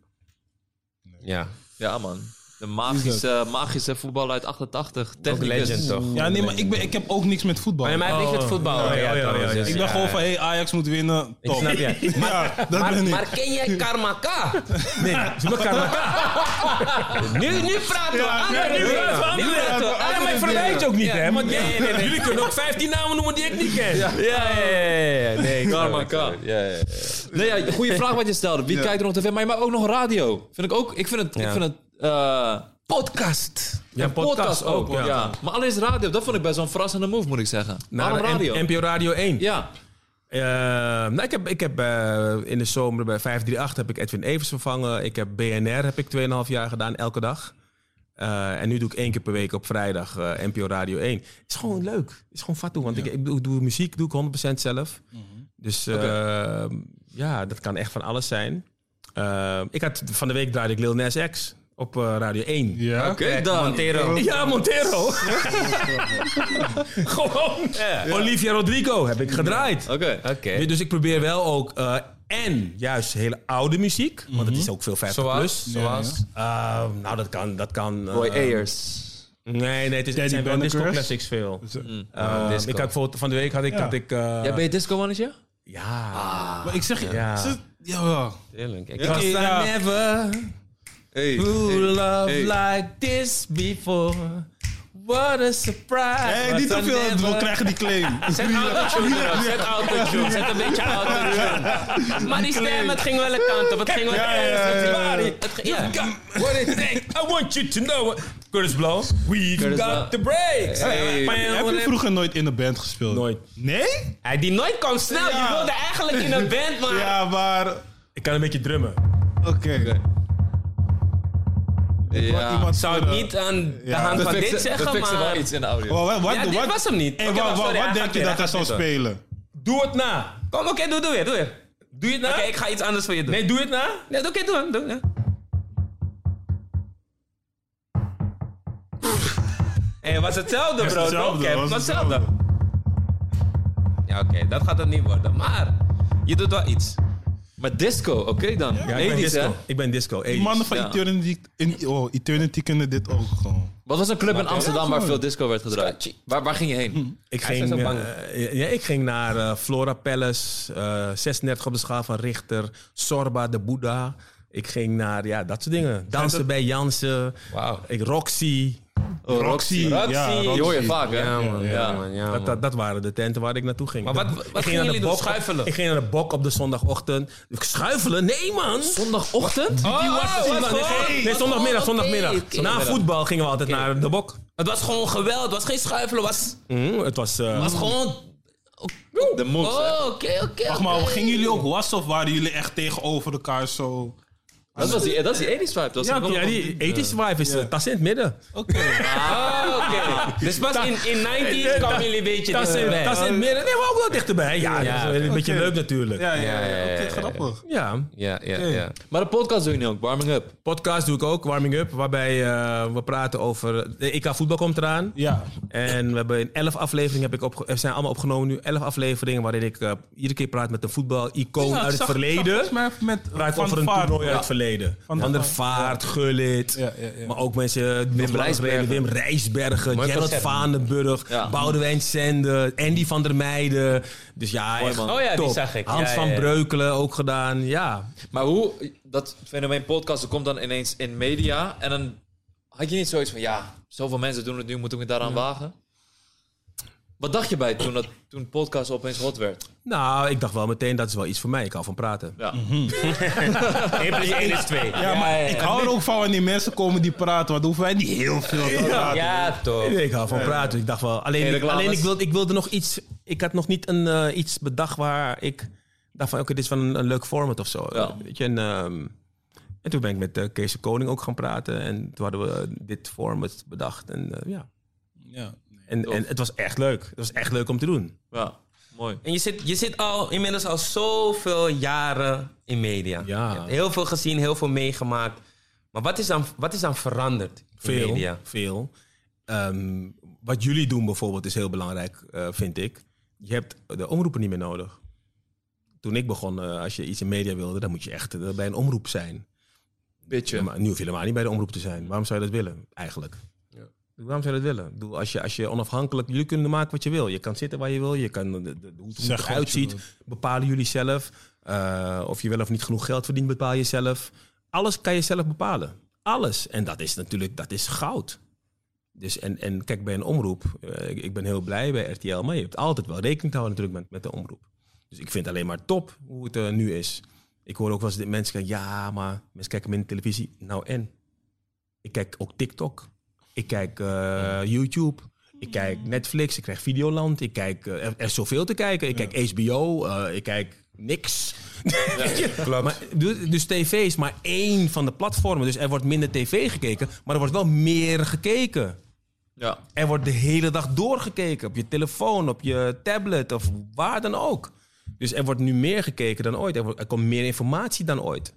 S1: Ja,
S2: Ja, man. De magische, magische voetballer uit 88.
S1: ook
S2: Technicus.
S1: legend toch?
S4: Ja, nee, maar ik, ben, ik heb ook niks met voetbal.
S1: Maar hij heeft niks met voetbal.
S3: Oh,
S1: hè?
S3: ja, ja, ja,
S1: trouwens,
S3: ja.
S1: dus
S4: ik ben gewoon van, hey, Ajax moet winnen. Top.
S3: snap je.
S4: Ja, dat
S1: Maar,
S4: ben ik.
S1: maar ken jij Karmaka?
S3: Nee, ze mag elkaar.
S1: Nu, nu praten we.
S4: Ja,
S1: Ah,
S4: nee,
S1: nu
S4: nee,
S1: praten we.
S4: ja.
S1: Nu
S4: Ja,
S1: praten we.
S4: ja,
S1: Ah,
S3: Maar ik verwijt je ook niet, hè? Want jij- jullie kunnen ook 15 namen noemen die ik niet ken.
S1: Ja, ja, ja, ja. Nee, ik snap het.
S2: Karmaka.
S1: Ja, ja, ja.
S2: Nee, ja, goede vraag wat je stelde. Wie kijkt er nog tv? Maar je maakt ook nog radio. Vind ik ook. Ik vind het. Ik
S1: Ja.
S2: vind het eh,
S1: Podcast.
S3: Ja,
S2: een podcast, ook. ja. Maar alleen is radio. Dat vond ik best wel een verrassende move, moet ik zeggen.
S3: Naar
S2: Waarom radio?
S3: N- NPO Radio 1.
S2: ja.
S3: Eh, nou, ik heb, ik heb eh, in de zomer bij 538 heb ik Edwin Evers vervangen. Ik heb BNR heb ik 2,5 jaar gedaan, elke dag. Eh, en nu doe ik één keer per week op vrijdag eh, NPO Radio 1. Het is gewoon leuk. Het is gewoon fatu. Want ik, ik doe, doe muziek, doe ik 100% zelf. Dus eh, ja, dat kan echt van alles zijn. Eh, ik had, van de week draaide ik Lil Nas X op eh, Radio 1.
S4: Ja?
S2: Oké, dan.
S1: Montero.
S3: Ja, Montero. Gewoon. eh, Olivia Rodrigo heb ik gedraaid.
S2: Oké.
S1: Oké.
S3: Dus- Dus ik probeer wel ook. eh, en juist hele oude muziek. Want het is ook veel 50
S1: Zoals?
S3: plus.
S1: Zoals?
S3: Eh, nou, dat kan. Dat kan eh,
S2: Roy Ayers.
S3: Nee, nee, het, is, het
S4: Daddy
S3: zijn wel disco
S4: Banneker's.
S3: classics veel.
S4: Mm.
S3: Eh, ik had bijvoorbeeld van de week had ik.
S4: Ja.
S3: Had ik eh,
S2: Jij bent disco-mannetje?
S3: ja.
S4: Maar ik zeg je...
S3: Ja.
S4: ze- Jawel.
S1: Heerlijk. Ik
S4: Ja.
S1: was-
S3: Cause
S4: Ja.
S3: I never
S2: Hey.
S3: who love
S2: hey.
S3: like this before.
S2: What a surprise.
S4: Hey, niet te veel, we krijgen die claim.
S1: Zet
S3: nou,
S1: autotune erop, zet autotune, zet een beetje autotune. Maar die stem, het ging wel een kant op, het ging wel
S4: Ja, ja,
S1: ergens, het
S4: ja,
S1: ging-
S4: ja.
S1: het ging- ja. What it takes, I want you to know. what- Curtis Blow, we've
S2: Curtis
S1: got
S2: Blow.
S1: the breaks.
S2: Hey.
S1: Maar
S4: Heb je vroeger nooit in een band gespeeld?
S3: Nooit.
S4: Nee?
S1: Hij die nooit kwam snel, je
S4: Ja.
S1: wilde eigenlijk in een band, maar...
S4: Ja, maar... Oké.
S3: Ik kan een beetje drummen.
S4: Wat
S2: Ja.
S4: iemand
S1: Zou ik
S4: voor, eh,
S1: niet aan de
S4: Ja.
S1: hand
S2: Dat
S1: van
S2: fixen-
S1: dit
S2: dat
S1: zeggen,
S2: fixen we
S1: maar...
S2: wel iets in de audio.
S4: Wat, wat,
S1: Ja,
S4: wat-
S1: dit
S4: wat-
S1: was hem niet.
S4: Hey,
S1: Oké,
S4: wat,
S1: wacht,
S4: wat-
S1: sorry,
S4: wat
S1: hij
S4: denk
S1: gaat
S4: je
S1: weer,
S4: dat
S1: hij
S4: hij
S1: gaat
S4: zou
S1: weer.
S4: spelen?
S3: Doe het na.
S1: Kom, oké, doe, doe weer, doe weer.
S3: Doe je het
S1: Oké,
S3: na?
S1: ik ga iets anders voor je doen.
S3: Nee, doe je het na?
S1: Nee, oké, doe hem, doe ja. Hé, het was hetzelfde,
S4: Het
S1: bro.
S4: was
S1: toch?
S4: hetzelfde,
S1: Oké,
S4: was
S1: was
S4: hetzelfde.
S1: hetzelfde. Ja, oké, dat gaat het niet worden. Maar je doet wel iets.
S2: Maar disco, oké dan.
S3: Ja, ik ben
S2: 80s, hè?
S3: disco. Ik ben disco.
S4: Die
S3: 80s.
S4: mannen van
S2: Ja.
S4: Eternity, in, oh, Eternity kunnen dit ook gewoon.
S2: Wat was een club in Amsterdam waar veel disco werd gedraaid?
S1: Scratchy.
S2: Waar, waar ging je heen?
S3: Ik
S1: Hij is
S3: ging,
S1: zo bang.
S3: eh, ja, ik ging naar eh, Flora Palace, eh 36 op de schaal van Richter, Sorba de Boeddha. Ik ging naar, ja, dat soort dingen. Dansen bij Jansen.
S1: Wauw.
S3: Ik, Roxy.
S2: Oh, Roxy.
S1: Roxy.
S4: Ah,
S2: Die hoor je vaak, hè?
S1: Ja, man, ja,
S2: Ja.
S1: man, ja,
S3: dat,
S1: man.
S3: dat, dat waren de tenten waar ik naartoe ging.
S1: Maar wat-
S3: Ik
S1: wat
S3: ging
S1: gingen
S3: naar de
S1: jullie doen?
S3: Bok op-
S1: Schuifelen?
S3: Ik ging naar de bok op de zondagochtend. Ik schuifelen? Nee, man!
S2: Zondagochtend?
S1: Oh, oh, het was
S3: Zondag- nee,
S1: gewoon-
S3: nee, zondagmiddag,
S1: Oh, oké,
S3: zondagmiddag.
S1: oké.
S3: Na voetbal gingen we altijd naar de bok.
S1: Het was gewoon geweld, het was geen schuifelen, het was,
S3: Mm, het was... eh,
S1: was gewoon...
S2: De moves, hè?
S1: Oh, oké, oké.
S4: Wacht maar, gingen jullie ook was of waren jullie echt tegenover elkaar zo?
S2: Dat, was die, dat is die 80s vibe. Dat was
S3: ja,
S2: die-
S3: ja, die 80s vibe is... eh, Tas in het midden.
S4: Oké.
S2: Ah,
S1: Oh, oké. Dus pas in, in 90s kwamen jullie een beetje
S3: Tas in,
S1: dichterbij. Oh,
S3: tas in het midden. Nee, maar ook wel dichterbij. Ja, dat is
S1: Ja,
S3: een
S1: oké.
S3: beetje
S4: Oké.
S3: leuk natuurlijk.
S4: Ja, ja, ja.
S1: Ja, ja,
S4: Oké,
S1: ja, ja.
S4: grappig.
S3: Ja.
S1: Ja, ja, ja.
S2: Maar de podcast doe je nu ook, warming up.
S3: Podcast doe ik ook, Warming Up, waarbij eh, we praten over... De EK voetbal komt eraan.
S4: Ja.
S3: En we hebben in elf afleveringen, heb ik opge- er zijn allemaal opgenomen nu, elf afleveringen waarin ik eh, iedere keer praat met een voetbal-icoon
S4: Ja, ik
S3: uit
S4: zag-
S3: het
S4: zag
S3: verleden.
S4: volgens mij even met eh,
S3: Praat
S4: Van
S3: over
S4: der
S3: een
S4: Vaart.
S3: toernooi uit
S4: Ja.
S3: het verleden.
S4: Van der
S3: Van der
S4: Vaart,
S3: Vaart, Gullit,
S4: Ja, ja, ja.
S3: maar ook mensen... eh, Wim
S2: Rijsbergen.
S3: Wim Rijsbergen,
S1: Mooi
S3: Gerard
S1: concept.
S3: Vandenburg,
S2: Ja.
S3: Boudewijn Sende, Andy van der Meijden. Dus ja,
S2: Mooi,
S3: echt
S2: man.
S1: Oh ja, die
S3: top.
S1: zag ik.
S3: Hans
S1: Ja,
S3: van
S1: ja, ja.
S3: Breukelen ook gedaan, ja.
S2: Maar hoe, dat fenomeen podcasten komt dan ineens in media. En dan had je niet zoiets van, ja, zoveel mensen doen het nu, moet ik me daaraan wagen? Wat dacht je bij toen, dat, toen podcast opeens hot werd?
S3: Nou, ik dacht wel meteen, dat is wel iets voor mij, ik hou van praten.
S2: Ja.
S1: 1 plus 1 is 2.
S4: Ja, maar ik hou er ook van wanneer mensen komen die praten, want dan hoeven wij niet heel veel te praten.
S1: Ja, toch.
S3: Nee, ik hou van praten. Ik dacht wel.
S2: Oh. Geen
S3: Alleen, ik,
S2: reclames.
S3: alleen ik, wilde, ik wilde nog iets. Ik had nog niet een, eh, iets bedacht waar ik dacht van oké, dit is wel een, een leuk format of zo.
S2: Ja.
S3: Weet je, en, ehm, en toen ben ik met eh, Kees de Koning ook gaan praten. En toen hadden we eh, dit format bedacht. En, eh, ja.
S4: Ja.
S3: en,
S2: Tof.
S3: en het was echt leuk. Het was echt leuk om te doen.
S2: Ja, mooi.
S1: En je zit, je zit al inmiddels al zoveel jaren in media.
S3: Ja.
S1: Je hebt heel veel gezien, heel veel meegemaakt. Maar wat is dan, wat is dan veranderd in
S3: Veel.
S1: media?
S3: veel. Ehm, wat jullie doen bijvoorbeeld is heel belangrijk, eh, vind ik. Je hebt de omroepen niet meer nodig. Toen ik begon, eh, als je iets in media wilde, dan moet je echt eh, bij een omroep zijn.
S2: Beetje.
S3: Ja, maar nu hoef je helemaal niet bij de omroep te zijn. Waarom zou je dat willen, eigenlijk? Waarom zou je dat willen? Ik bedoel, als, je, als je onafhankelijk... Jullie kunnen maken wat je wil. Je kan zitten waar je wil. Je kan de, de, de- hoe het
S4: Zeg wat je
S3: eruit ziet. Bepalen jullie zelf. Eh, of je wel of niet genoeg geld verdient, bepaal je zelf. Alles kan je zelf bepalen. Alles. En dat is natuurlijk dat is goud. Dus en, en kijk, bij een omroep... eh, ik, ik ben heel blij bij RTL. Maar je hebt altijd wel rekening te houden natuurlijk met, met de omroep. Dus ik vind het alleen maar top hoe het eh, nu is. Ik hoor ook wel eens de mensen zeggen... Ja, maar mensen kijken minder televisie. Nou en? Ik kijk ook TikTok. Ik kijk eh, YouTube. Ik kijk Netflix. Ik krijg Videoland. Ik kijk, eh, er, er is zoveel te kijken. Ik kijk HBO. eh, ik kijk niks. Maar, du- dus tv is maar één van de platformen. Dus er wordt minder tv gekeken. Maar er wordt wel meer gekeken.
S2: Ja.
S3: Er wordt de hele dag doorgekeken. Op je telefoon, op je tablet of waar dan ook. Dus er wordt nu meer gekeken dan ooit. Er, wordt- er komt meer informatie dan ooit.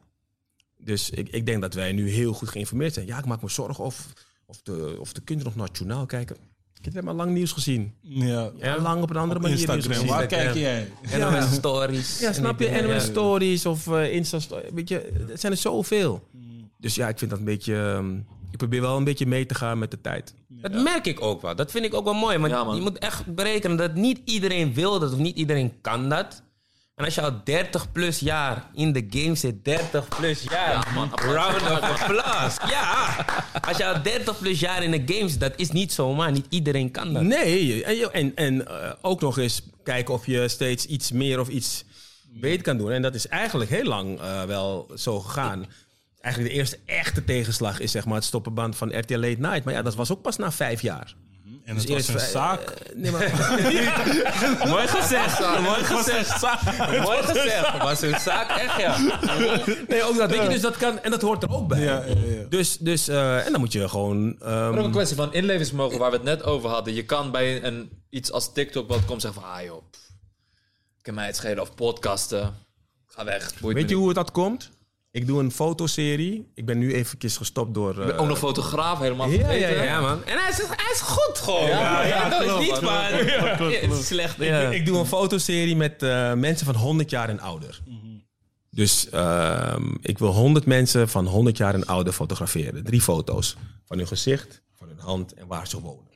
S3: Dus ik, ik denk dat wij nu heel goed geïnformeerd zijn. Ja, ik maak me zorgen of, of, de, of de kinderen nog nationaal kijken. Ik heb maar lang nieuws gezien.
S4: ja.
S3: Ja, lang op een andere
S4: Op
S3: manier nieuws
S4: Instagram,
S3: gezien.
S4: waar kijk jij?
S1: En dan met stories.
S3: Ja, snap je?
S1: En
S3: En
S1: die dingen, ja.
S3: Stories of eh Insta Stories. Weet je, het zijn er zoveel. Dus ja, ik vind dat een beetje... ehm, ik probeer wel een beetje mee te gaan met de tijd.
S1: Dat merk ik ook wel. Dat vind ik ook wel mooi. Want
S2: Ja, man.
S1: je moet echt berekenen dat niet iedereen wil dat of niet iedereen kan dat. En als je al 30 plus jaar in de game zit, 30 plus jaar, round of applause. Ja, als je al 30 plus jaar in de game zit, dat is niet zomaar. Niet iedereen kan dat.
S3: Nee, en, en, en eh, ook nog eens kijken of je steeds iets meer of iets beter kan doen. En dat is eigenlijk heel lang eh, wel zo gegaan. Eigenlijk de eerste echte tegenslag is zeg maar het stoppenband van RTL Late Night. Maar ja, dat was ook pas na vijf jaar.
S4: En het was een
S3: vij-
S4: zaak.
S3: eh, nee, maar,
S1: Mooi gezegd, mooi gezegd. Mooi gezegd. Was hun zaak echt, ja.
S3: nee, ook dat. Weet je, dus dat kan, en dat hoort er ook bij.
S4: Ja, ja, ja.
S3: Dus, dus eh, en dan moet je gewoon... ehm,
S2: Maar ook een kwestie van inlevingsvermogen waar we het net over hadden. Je kan bij een, iets als TikTok wat komt zeggen van... Ah joh, pff, kan mij het schelen. Of podcasten. Ga weg. Boeit
S3: weet je
S2: me
S3: hoe dat komt? Ik doe een fotoserie. Ik ben nu eventjes gestopt door... eh,
S2: niet. Ook nog fotograaf helemaal
S3: Ja,
S2: vergeten. Oh,
S3: ja,
S1: Ja, man. En hij is, hij is goed gewoon.
S2: Ja,
S1: Ja,
S2: ja,
S1: dat
S2: klopt,
S1: is niet
S2: klopt,
S1: waar.
S4: klopt, klopt,
S1: Het is slecht.
S3: Ik-
S1: ja.
S3: Ik, doe een fotoserie met eh, mensen van 100 jaar en ouder. Dus ehm, ik wil 100 mensen van 100 jaar en ouder fotograferen. Drie foto's. Van hun gezicht, van hun hand en waar ze wonen.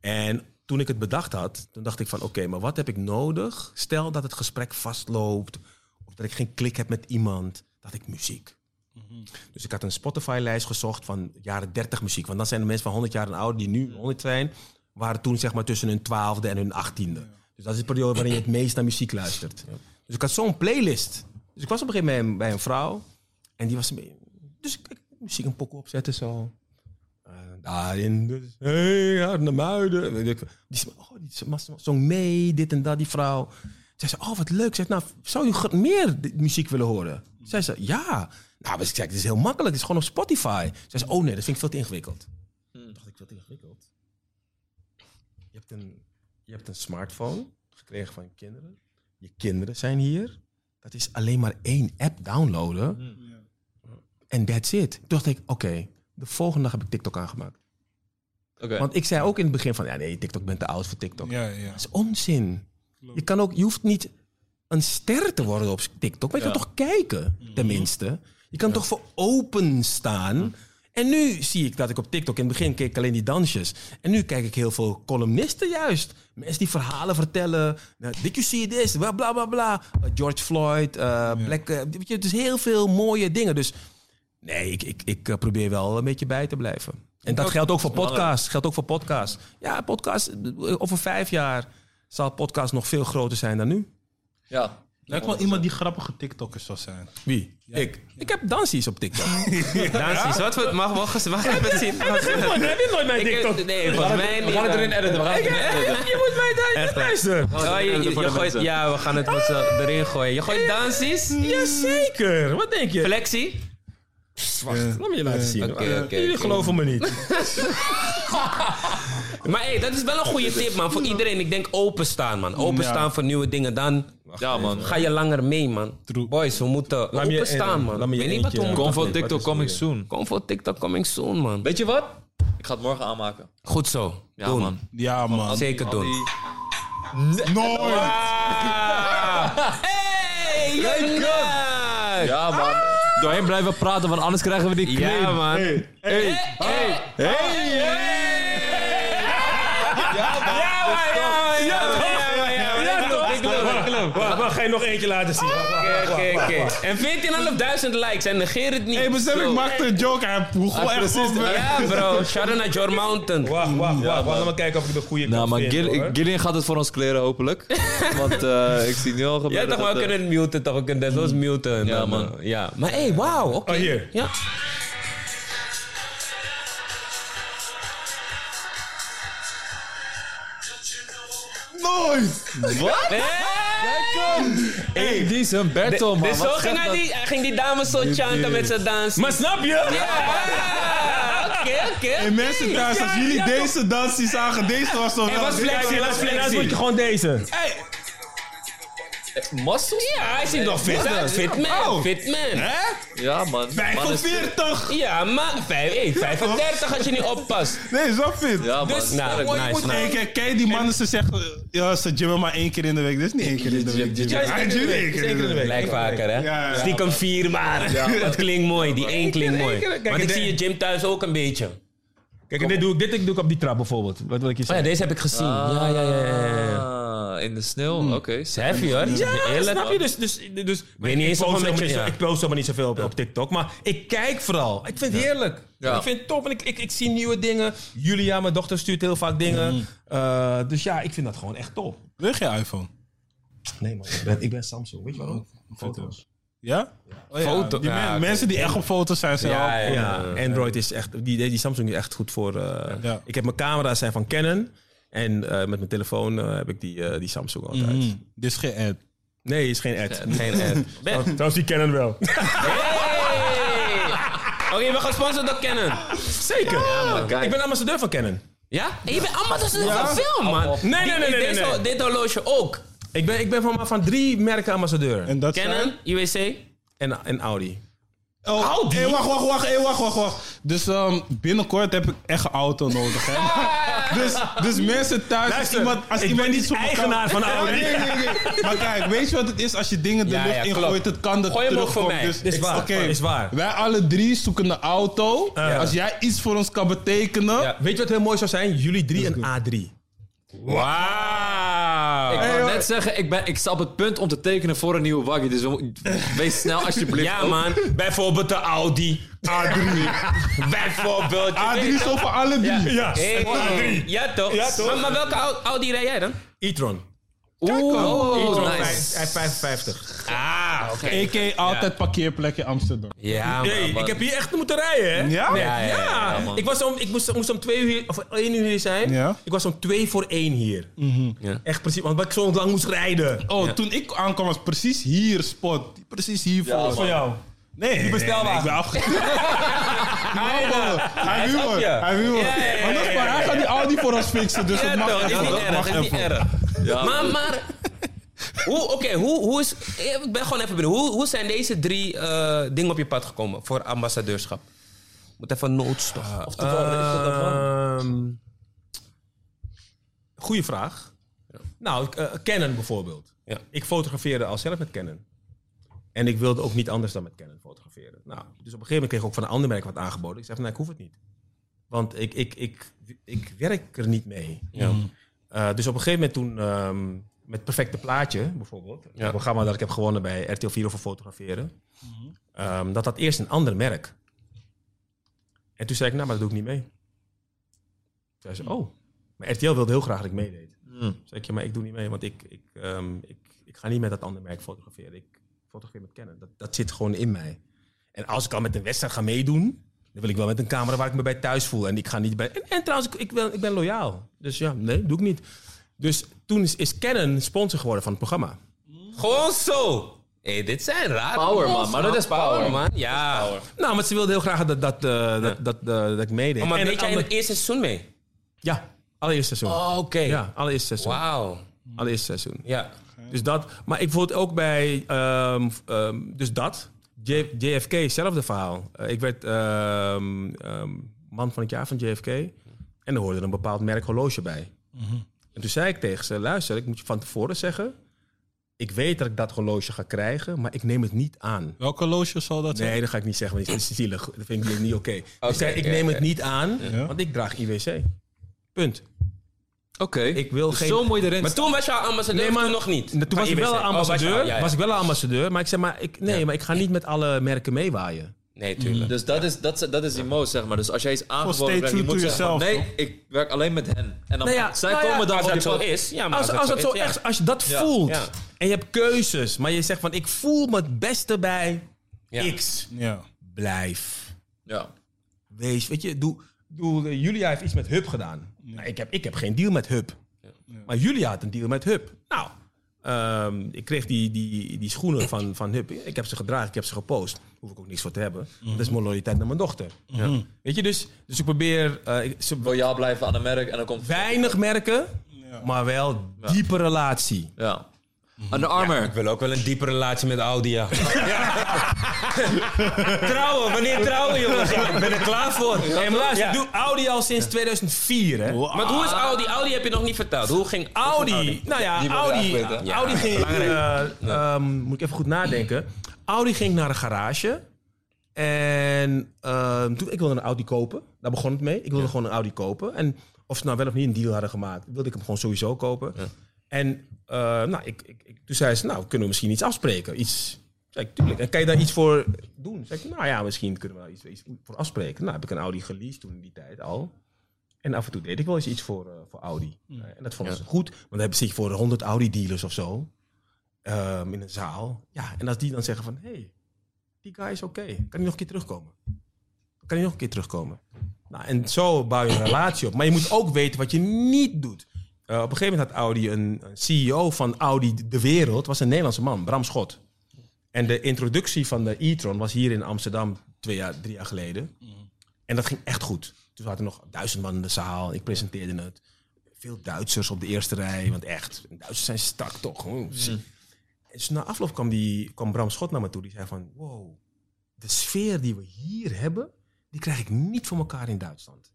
S3: En toen ik het bedacht had, toen dacht ik van... oké, maar wat heb ik nodig? Stel dat het gesprek vastloopt... of dat ik geen klik heb met iemand, dat ik muziek. Dus ik had een Spotify-lijst gezocht van jaren 30 muziek. Want dan zijn de mensen van 100 jaar en ouder die nu 100 zijn... waren toen zeg maar tussen hun 12e en hun 18e. Dus dat is de periode waarin je het meest naar muziek luistert. Dus ik had zo'n playlist. Dus ik was op een gegeven moment bij een vrouw... en die was... een beetje- Dus ik, ik muziek een pokkel opzetten zo... Eh, daarin. Dus, hey, Arne Muiden. Weet ik veel. Die zong- oh, die zong- zong- zong mee, dit en dat, die vrouw. Zei ze, oh, wat leuk. Zei, nou, zou je gr- meer di- muziek willen horen? Zei ze, ja. Nou, dus ik zei, het is heel makkelijk. Het is gewoon op Spotify. Zei ze, oh nee, dat vind ik veel te ingewikkeld. Toen dacht ik, veel te ingewikkeld? Je hebt, een, je hebt een smartphone gekregen van je kinderen. Je kinderen zijn hier. Dat is alleen maar één app downloaden. En that's it. Toen dacht ik, oké, de volgende dag heb ik TikTok aangemaakt.
S2: Oké.
S3: Want ik zei ook in het begin van, ja nee, TikTok bent te oud voor TikTok.
S4: Ja, ja.
S3: Dat is onzin. Je, kan ook, je hoeft niet een ster te worden op TikTok, maar je kan toch kijken, tenminste. Je kan toch voor openstaan. En nu zie ik dat ik op TikTok, in het begin keek ik alleen die dansjes. En nu kijk ik heel veel columnisten juist. Mensen die verhalen vertellen. Nou, Did you see this? Bla bla bla bla. Uh, George Floyd, eh, Black... eh, weet je, dus heel veel mooie dingen. Dus Nee, ik, ik, ik eh, probeer wel een beetje bij te blijven. En dat geldt ook voor podcasts. Geldt ook voor podcasts. Ja, podcast eh, over vijf jaar zal podcast nog veel groter zijn dan nu.
S2: Ja.
S4: Lijkt wel iemand die grappige TikTokkers zou zijn.
S3: Wie? Ik. Ik heb dansies op TikTok.
S1: Dansies, wat we, mag, mag, mag ik even zien? Mag ik even-
S3: heb je nooit mijn
S1: Ik- Nee, volgens mij niet.
S2: We gaan het erin editen. We gaan het erin editen.
S3: Je moet mij daar
S1: Echt waar.
S3: luisteren.
S1: Oh, je- je- je
S2: Voor de
S1: gooit-
S2: mensen.
S1: ja, we gaan het met z'n erin gooien. Je gooit dansies?
S3: Jazeker. Wat denk je?
S1: Flexie?
S3: Laat me je laten zien.
S1: Oké,
S3: Eh,
S1: oké,
S3: Jullie
S1: oké.
S3: geloven me niet.
S1: Maar hey, dat is wel een goede tip, man. Voor iedereen. Ik denk openstaan, man. Openstaan voor nieuwe dingen. Dan
S2: Ja, man.
S1: ga je langer mee, man.
S4: True.
S1: Boys, we moeten
S3: Laat me je-
S1: openstaan,
S3: eh,
S1: man.
S3: laat me
S1: Ik
S3: je
S1: weet niet wat we
S3: eentje-
S1: moeten
S2: Kom
S3: Wat
S2: voor
S3: is- wat
S2: TikTok
S3: is de
S2: coming
S3: idee?
S2: soon.
S1: Kom voor TikTok coming soon, man.
S2: Weet je wat? Ik ga het morgen aanmaken.
S1: Goed zo.
S2: Ja,
S1: Doen.
S2: man.
S4: Ja, man.
S1: Zeker
S2: Al
S1: doen.
S2: die-
S4: Nooit!
S1: Hey, Jenna!
S2: Ja, man. Doorheen blijven praten, want anders krijgen we die claim.
S1: Ja, man. Oh,
S2: Hey,
S3: Ah.
S2: hey, hey. Ja, man.
S3: Wacht, ga je nog eentje laten zien.
S1: Oké, oké. En 14.500 likes en negeer het niet.
S4: Hé, besef, ik
S1: Zo.
S4: maakte een joke. Hij poeg wel echt op me.
S1: Ja, bro. Shout out naar Jor Mountain.
S3: Wacht, wacht, wacht. Laat me kijken of ik de goede
S2: Nou,
S3: kan
S2: maar
S3: vinden, hoor.
S2: Gil- Gillian gaat het voor ons kleren, hopelijk. Want eh, ik zie nu al
S1: Jij
S2: gebeuren.
S1: toch wel
S2: dat, eh,
S1: kunnen muten, toch? We kunnen dat los muten. en
S2: Ja,
S1: dan,
S2: man.
S1: eh, Ja. Maar hé, hey, wauw. oké.
S3: Oh, hier.
S1: Ja.
S4: Nooit!
S2: Wat? Hey, die is een Bertel, man.
S1: Dus zo
S2: Wat
S1: ging
S2: gek
S1: hij,
S2: dat-
S1: die, hij ging die dame zo chanten met zijn dans.
S3: Maar snap je?
S1: Ja, oké, oké.
S4: En mensen thuis, als jullie deze dansie zagen, deze was toch
S1: Er was
S4: wel...
S1: flexie, er was flexie.
S3: gewoon deze.
S2: Eh, Muscles?
S1: Ja, hij ziet nog fit uit. Fit man,
S4: Oh.
S1: fit man.
S4: Hè?
S2: Ja, man. Man is-
S4: 45!
S1: Ja, maar vijf- hey, 35 als je niet oppast.
S4: Nee, zo fit.
S2: Ja, man.
S1: Dus- Nou,
S2: Sterk, man.
S1: nice, nice.
S4: Nee, kijk, kijk, die mannen, ze zeggen, ja, ze gymmen maar één keer in de week. Dit is niet één keer in de week.
S2: Ja,
S4: Hij gymt één keer in de week.
S1: Lijkt vaker, hè?
S4: Ja, ja.
S1: Stiekem vier maar. Dat klinkt mooi, die één klinkt mooi. Want ik zie je gym thuis ook een beetje.
S3: Kijk, en dit doe ik, dit doe ik op die trap bijvoorbeeld. Wat wil ik je
S1: Oh ja,
S3: zeggen?
S1: deze heb ik gezien. Ja, ja, ja. ja, ja.
S2: Ah, in de sneeuw. Oké.
S1: is heavy hoor.
S2: Ja,
S1: eerlijk.
S3: Snap je? Dus, dus, dus
S1: weet niet eens of
S3: post
S1: een
S3: helemaal
S1: beetje-
S3: niet zo-
S1: ja.
S3: ik post helemaal niet zoveel op, op TikTok. Maar ik kijk vooral. Ik vind het heerlijk.
S2: Ja.
S3: Ik vind het top. En ik, ik, ik zie nieuwe dingen. Julia, mijn dochter, stuurt heel vaak dingen. Eh, dus ja, ik vind dat gewoon echt top.
S4: Wil je geen iPhone?
S3: Nee man, ik ben, ik ben Samsung. Weet je wel? Foto's.
S4: Ja?
S1: ja. Foto-
S4: Die men-
S1: ja, oké.
S4: Mensen die echt op foto's zijn, zijn
S1: Ja,
S4: al-
S1: ja, ja.
S3: Ja, Android is echt... Die, die Samsung is echt goed voor... eh,
S4: Ja.
S3: Ik heb mijn camera's zijn van Canon. En eh, met mijn telefoon eh, heb ik die, eh, die Samsung altijd.
S4: Mhm. Dit is geen ad.
S3: Nee, is geen ad. Oh,
S1: Geen ad. Ben.
S3: Trouwens, die Canon wel.
S1: Hey! Oké, je bent gesponsord door Canon.
S3: Zeker. ik ben ambassadeur van Canon.
S1: Ja? En je bent allemaal tussen van film, man.
S3: Nee, nee,
S1: Die-
S3: nee, nee,
S1: Dit,
S3: nee, nee.
S1: dit horloge ook.
S3: Ik ben, ik ben van, van drie merken ambassadeur.
S4: En dat zijn-
S1: Canon, UWC.
S3: En, en Audi.
S4: Oh,
S3: Audi?
S4: hey, wacht, wacht, wacht, hey, wacht, wacht, wacht. Dus ehm, binnenkort heb ik echt een auto nodig, hè? dus, dus mensen thuis,
S3: Luister,
S4: als iemand, als
S3: ik
S4: iemand
S3: ben
S4: iets
S3: niet
S4: op elkaar-
S3: eigenaar van Audi.
S4: Nee, nee, nee, nee. Maar kijk, weet je wat het is? Als je dingen de
S1: Ja,
S4: lucht
S1: ja,
S4: ingooit,
S1: klopt.
S4: het kan dat
S1: Gooi hem ook
S4: terugkomt.
S1: voor mij.
S4: Dus,
S3: Is waar,
S4: oké,
S3: is waar.
S4: Wij alle drie zoeken een auto.
S3: Ja.
S4: Als jij iets voor ons kan betekenen...
S3: Ja, weet je wat heel mooi zou zijn? Jullie drie en A3.
S1: Wauw.
S2: Ik wou net zeggen, ik, ben, ik sta op het punt om te tekenen voor een nieuwe waggie. Dus we mo- wees snel alsjeblieft.
S1: Ja,
S2: ook.
S1: man. Bijvoorbeeld de Audi.
S4: Adrie.
S1: Bijvoorbeeld.
S4: Adrie is over alle drie.
S3: Ja.
S1: Hey,
S3: A3.
S1: Ja, toch?
S3: Ja, toch?
S1: Maar, maar welke Au- Audi rij jij dan?
S3: e-tron.
S2: Oeh, oh,
S1: Oeh,
S3: Hij
S1: Oh, nice.
S3: hij is 55.
S1: Ah, oké.
S4: A.k.a. altijd parkeerplek in Amsterdam.
S1: Ja, man.
S3: Nee,
S1: man.
S3: ik heb hier echt moeten rijden, hè?
S4: Ja?
S3: Nee.
S1: Ja, ja, ja, ja, man.
S3: ik, was om, ik moest, moest om twee uur, of één uur hier zijn.
S4: Ja. Mhm.
S3: Ik was om twee voor één hier.
S1: Ja.
S3: Echt precies, want ik zo lang moest rijden.
S4: Oh, toen ik aankwam was precies hier spot. Precies hiervoor.
S2: Ja, man.
S3: jou.
S4: Nee, die
S3: bestelwagen.
S4: ik ben afgekomen. Hij wil
S3: snap
S4: het.
S3: je.
S4: Hij wil
S1: Ja, ja,
S4: het.
S1: ja,
S4: Maar dat is
S1: ja,
S4: waar,
S1: ja,
S4: hij gaat die Audi voor ons fixen. Dus het
S1: Ja,
S4: mag
S1: toch? Is
S4: even.
S1: niet
S4: Het
S1: erg.
S4: mag
S1: Is niet
S4: even.
S1: erg.
S2: Ja,
S1: Maar, maar... Hoe, Oké, hoe, hoe is... Ik ben gewoon even benieuwd. Hoe, hoe zijn deze drie eh, dingen op je pad gekomen voor ambassadeurschap? Moet even noodstof.
S2: Ah,
S1: of de
S3: Ehm, goeie vraag. Nou, eh, Canon bijvoorbeeld.
S1: Ja.
S3: Ik fotografeerde al zelf met Canon. En ik wilde ook niet anders dan met Canon fotograferen. Nou, dus op een gegeven moment kreeg ik ook van een ander merk wat aangeboden. Ik zei van, nee, ik hoef het niet. Want ik, ik, ik, ik werk er niet mee. Eh, dus op een gegeven moment toen, ehm, met Perfecte Plaatje bijvoorbeeld...
S1: Ja.
S3: het programma dat ik heb gewonnen bij RTL 4 over fotograferen... ehm, dat had eerst een ander merk. En toen zei ik, nou, maar dat doe ik niet mee. Toen zei ze, oh. Maar RTL wilde heel graag dat ik meedeed.
S1: Hmm.
S3: Toen zei ik, ja, maar ik doe niet mee, want ik, ik, ehm, ik, ik ga niet met dat andere merk fotograferen. Ik fotografeer met Canon. Dat, dat zit gewoon in mij. En als ik al met een wedstrijd ga meedoen, dan wil ik wel met een camera waar ik me bij thuis voel. En ik ga niet bij... En, en trouwens, ik, ik, ben, ik ben loyaal. Dus ja, nee, doe ik niet. Dus toen is, is Canon sponsor geworden van het programma.
S1: Eh, Gewoon zo. Hé, dit zijn raar.
S2: Power, man. Maar dat is power.
S1: man. Ja.
S3: Nou, maar ze wilde heel graag dat, dat, eh, dat, dat, eh, dat ik meedeed.
S1: Oh, maar
S3: En
S1: deed
S3: het
S1: jij in
S3: ander-
S1: het eerste seizoen mee?
S3: Ja, allereerste seizoen.
S1: Oh, oké.
S3: Ja, allereerste seizoen.
S1: Wauw.
S3: Allereerste seizoen.
S1: Ja.
S3: Dus dat. Maar ik vond ook bij. ehm, ehm, dus dat. J- JFK, hetzelfde verhaal. Eh, ik werd ehm, ehm, man van het jaar van JFK. En er hoorde een bepaald merk horloge bij. En toen zei ik tegen ze: luister, ik moet je van tevoren zeggen. Ik weet dat ik dat horloge ga krijgen, maar ik neem het niet aan.
S4: Welke loge zal dat zijn?
S3: Nee, dat ga ik niet zeggen, want ik vind het zielig. Dat vind ik niet oké.
S1: Oké,
S3: ik zei, ik
S1: oké,
S3: neem het
S1: oké.
S3: niet aan,
S4: Ja.
S3: want ik draag IWC. Punt.
S2: Oké.
S3: Ik wil
S2: Dus
S3: geen-
S2: Zo moet je erin
S1: Maar toen was je al ambassadeur,
S3: Nee, maar-
S1: toen nog niet.
S3: En Toen
S1: Van
S3: was ik,
S1: IWC.
S3: wel een
S1: Oh, was je al,
S3: ambassadeur,
S1: ja, ja.
S3: was ik wel een ambassadeur, maar ik zeg maar, ik, nee, maar ik ga niet met alle merken meewaaien.
S1: Nee, tuurlijk.
S2: Dus dat is, dat, is- dat is die mode, zeg maar. Dus als jij iets aangeboden
S4: stay
S2: krijgt, je
S4: true
S2: moet
S4: to
S2: zeggen van,
S4: yourself,
S2: nee, ik werk alleen met hen. En dan,
S3: Nou ja,
S2: zij
S3: nou ja,
S2: komen dan
S1: Als
S2: op
S1: Nou, dat
S2: die
S1: zo
S2: pad.
S1: is, ja, maar
S3: Als, als het zo
S1: is, ja.
S3: echt, als je dat
S2: Ja.
S3: voelt
S1: Ja.
S3: en je hebt keuzes, maar je zegt van ik voel me het beste bij
S1: Ja.
S3: X,
S4: Ja.
S3: blijf.
S2: Ja.
S3: Wees, weet je, doe, doe, eh, Julia heeft iets met Hub gedaan. Nou, ik, heb, ik heb geen deal met Hub. Maar Julia had een deal met Hub. Nou, ehm, ik kreeg die, die, die schoenen van, van Hub. Ik heb ze gedragen, ik heb ze gepost. Hoef ik ook niks voor te hebben. want Dat is mijn loyaliteit naar mijn dochter. Ja. Weet je, dus, dus ik probeer... eh, ik- ze-
S2: Loyaal blijven aan een merk en dan komt...
S3: weinig merken, maar wel diepe relatie.
S2: Ja. Aan de armer.
S1: Ik wil ook wel een diepe relatie met Audi, ja. trouwen, wanneer trouwen, jongens? Ja, ik ben er klaar voor.
S3: Hey, maar luister,
S1: Ja.
S3: ik doe Audi al sinds 2004, hè?
S1: Maar hoe is Audi? Audi heb je nog niet verteld. Hoe ging
S3: Audi, nou ja,
S2: Die wil ik
S3: Audi,
S2: graag weten.
S3: Ja, Audi ging, eh, ehm, moet ik even goed nadenken. Audi ging naar een garage en ehm, toen, ik wilde een Audi kopen. Daar begon het mee. Ik wilde gewoon een Audi kopen en of ze nou wel of niet een deal hadden gemaakt, wilde ik hem gewoon sowieso kopen. En eh, nou, ik, ik, ik- toen zei ze, nou, kunnen we misschien iets afspreken? Iets. Zei ik, tuurlijk. En kan je daar iets voor doen? Zei ik, nou ja, misschien kunnen we daar iets, iets voor afspreken. Nou, heb ik een Audi geleased toen in die tijd al. En af en toe deed ik wel eens iets voor, eh, voor Audi. Eh, en dat vonden ze goed. Want dan hebben ze zich voor 100 Audi-dealers of zo. ehm, in een zaal. Ja, en als die dan zeggen van... hey, die guy is oké. Kan hij nog een keer terugkomen? Kan hij nog een keer terugkomen? Nou, en zo bouw je een relatie op. Maar je moet ook weten wat je niet doet. Eh, op een gegeven moment had Audi een een CEO van Audi de wereld. was een Nederlandse man, Bram Schot. En de introductie van de e-tron was hier in Amsterdam twee jaar, drie jaar geleden. En dat ging echt goed. Toen zaten nog duizend man in de zaal. Ik presenteerde het. Veel Duitsers op de eerste rij. Want echt, Duitsers zijn strak toch. Oeh, zie. En dus na afloop kwam, die, kwam Bram Schot naar me toe. Die zei van, wow, de sfeer die we hier hebben... die krijg ik niet voor elkaar in Duitsland.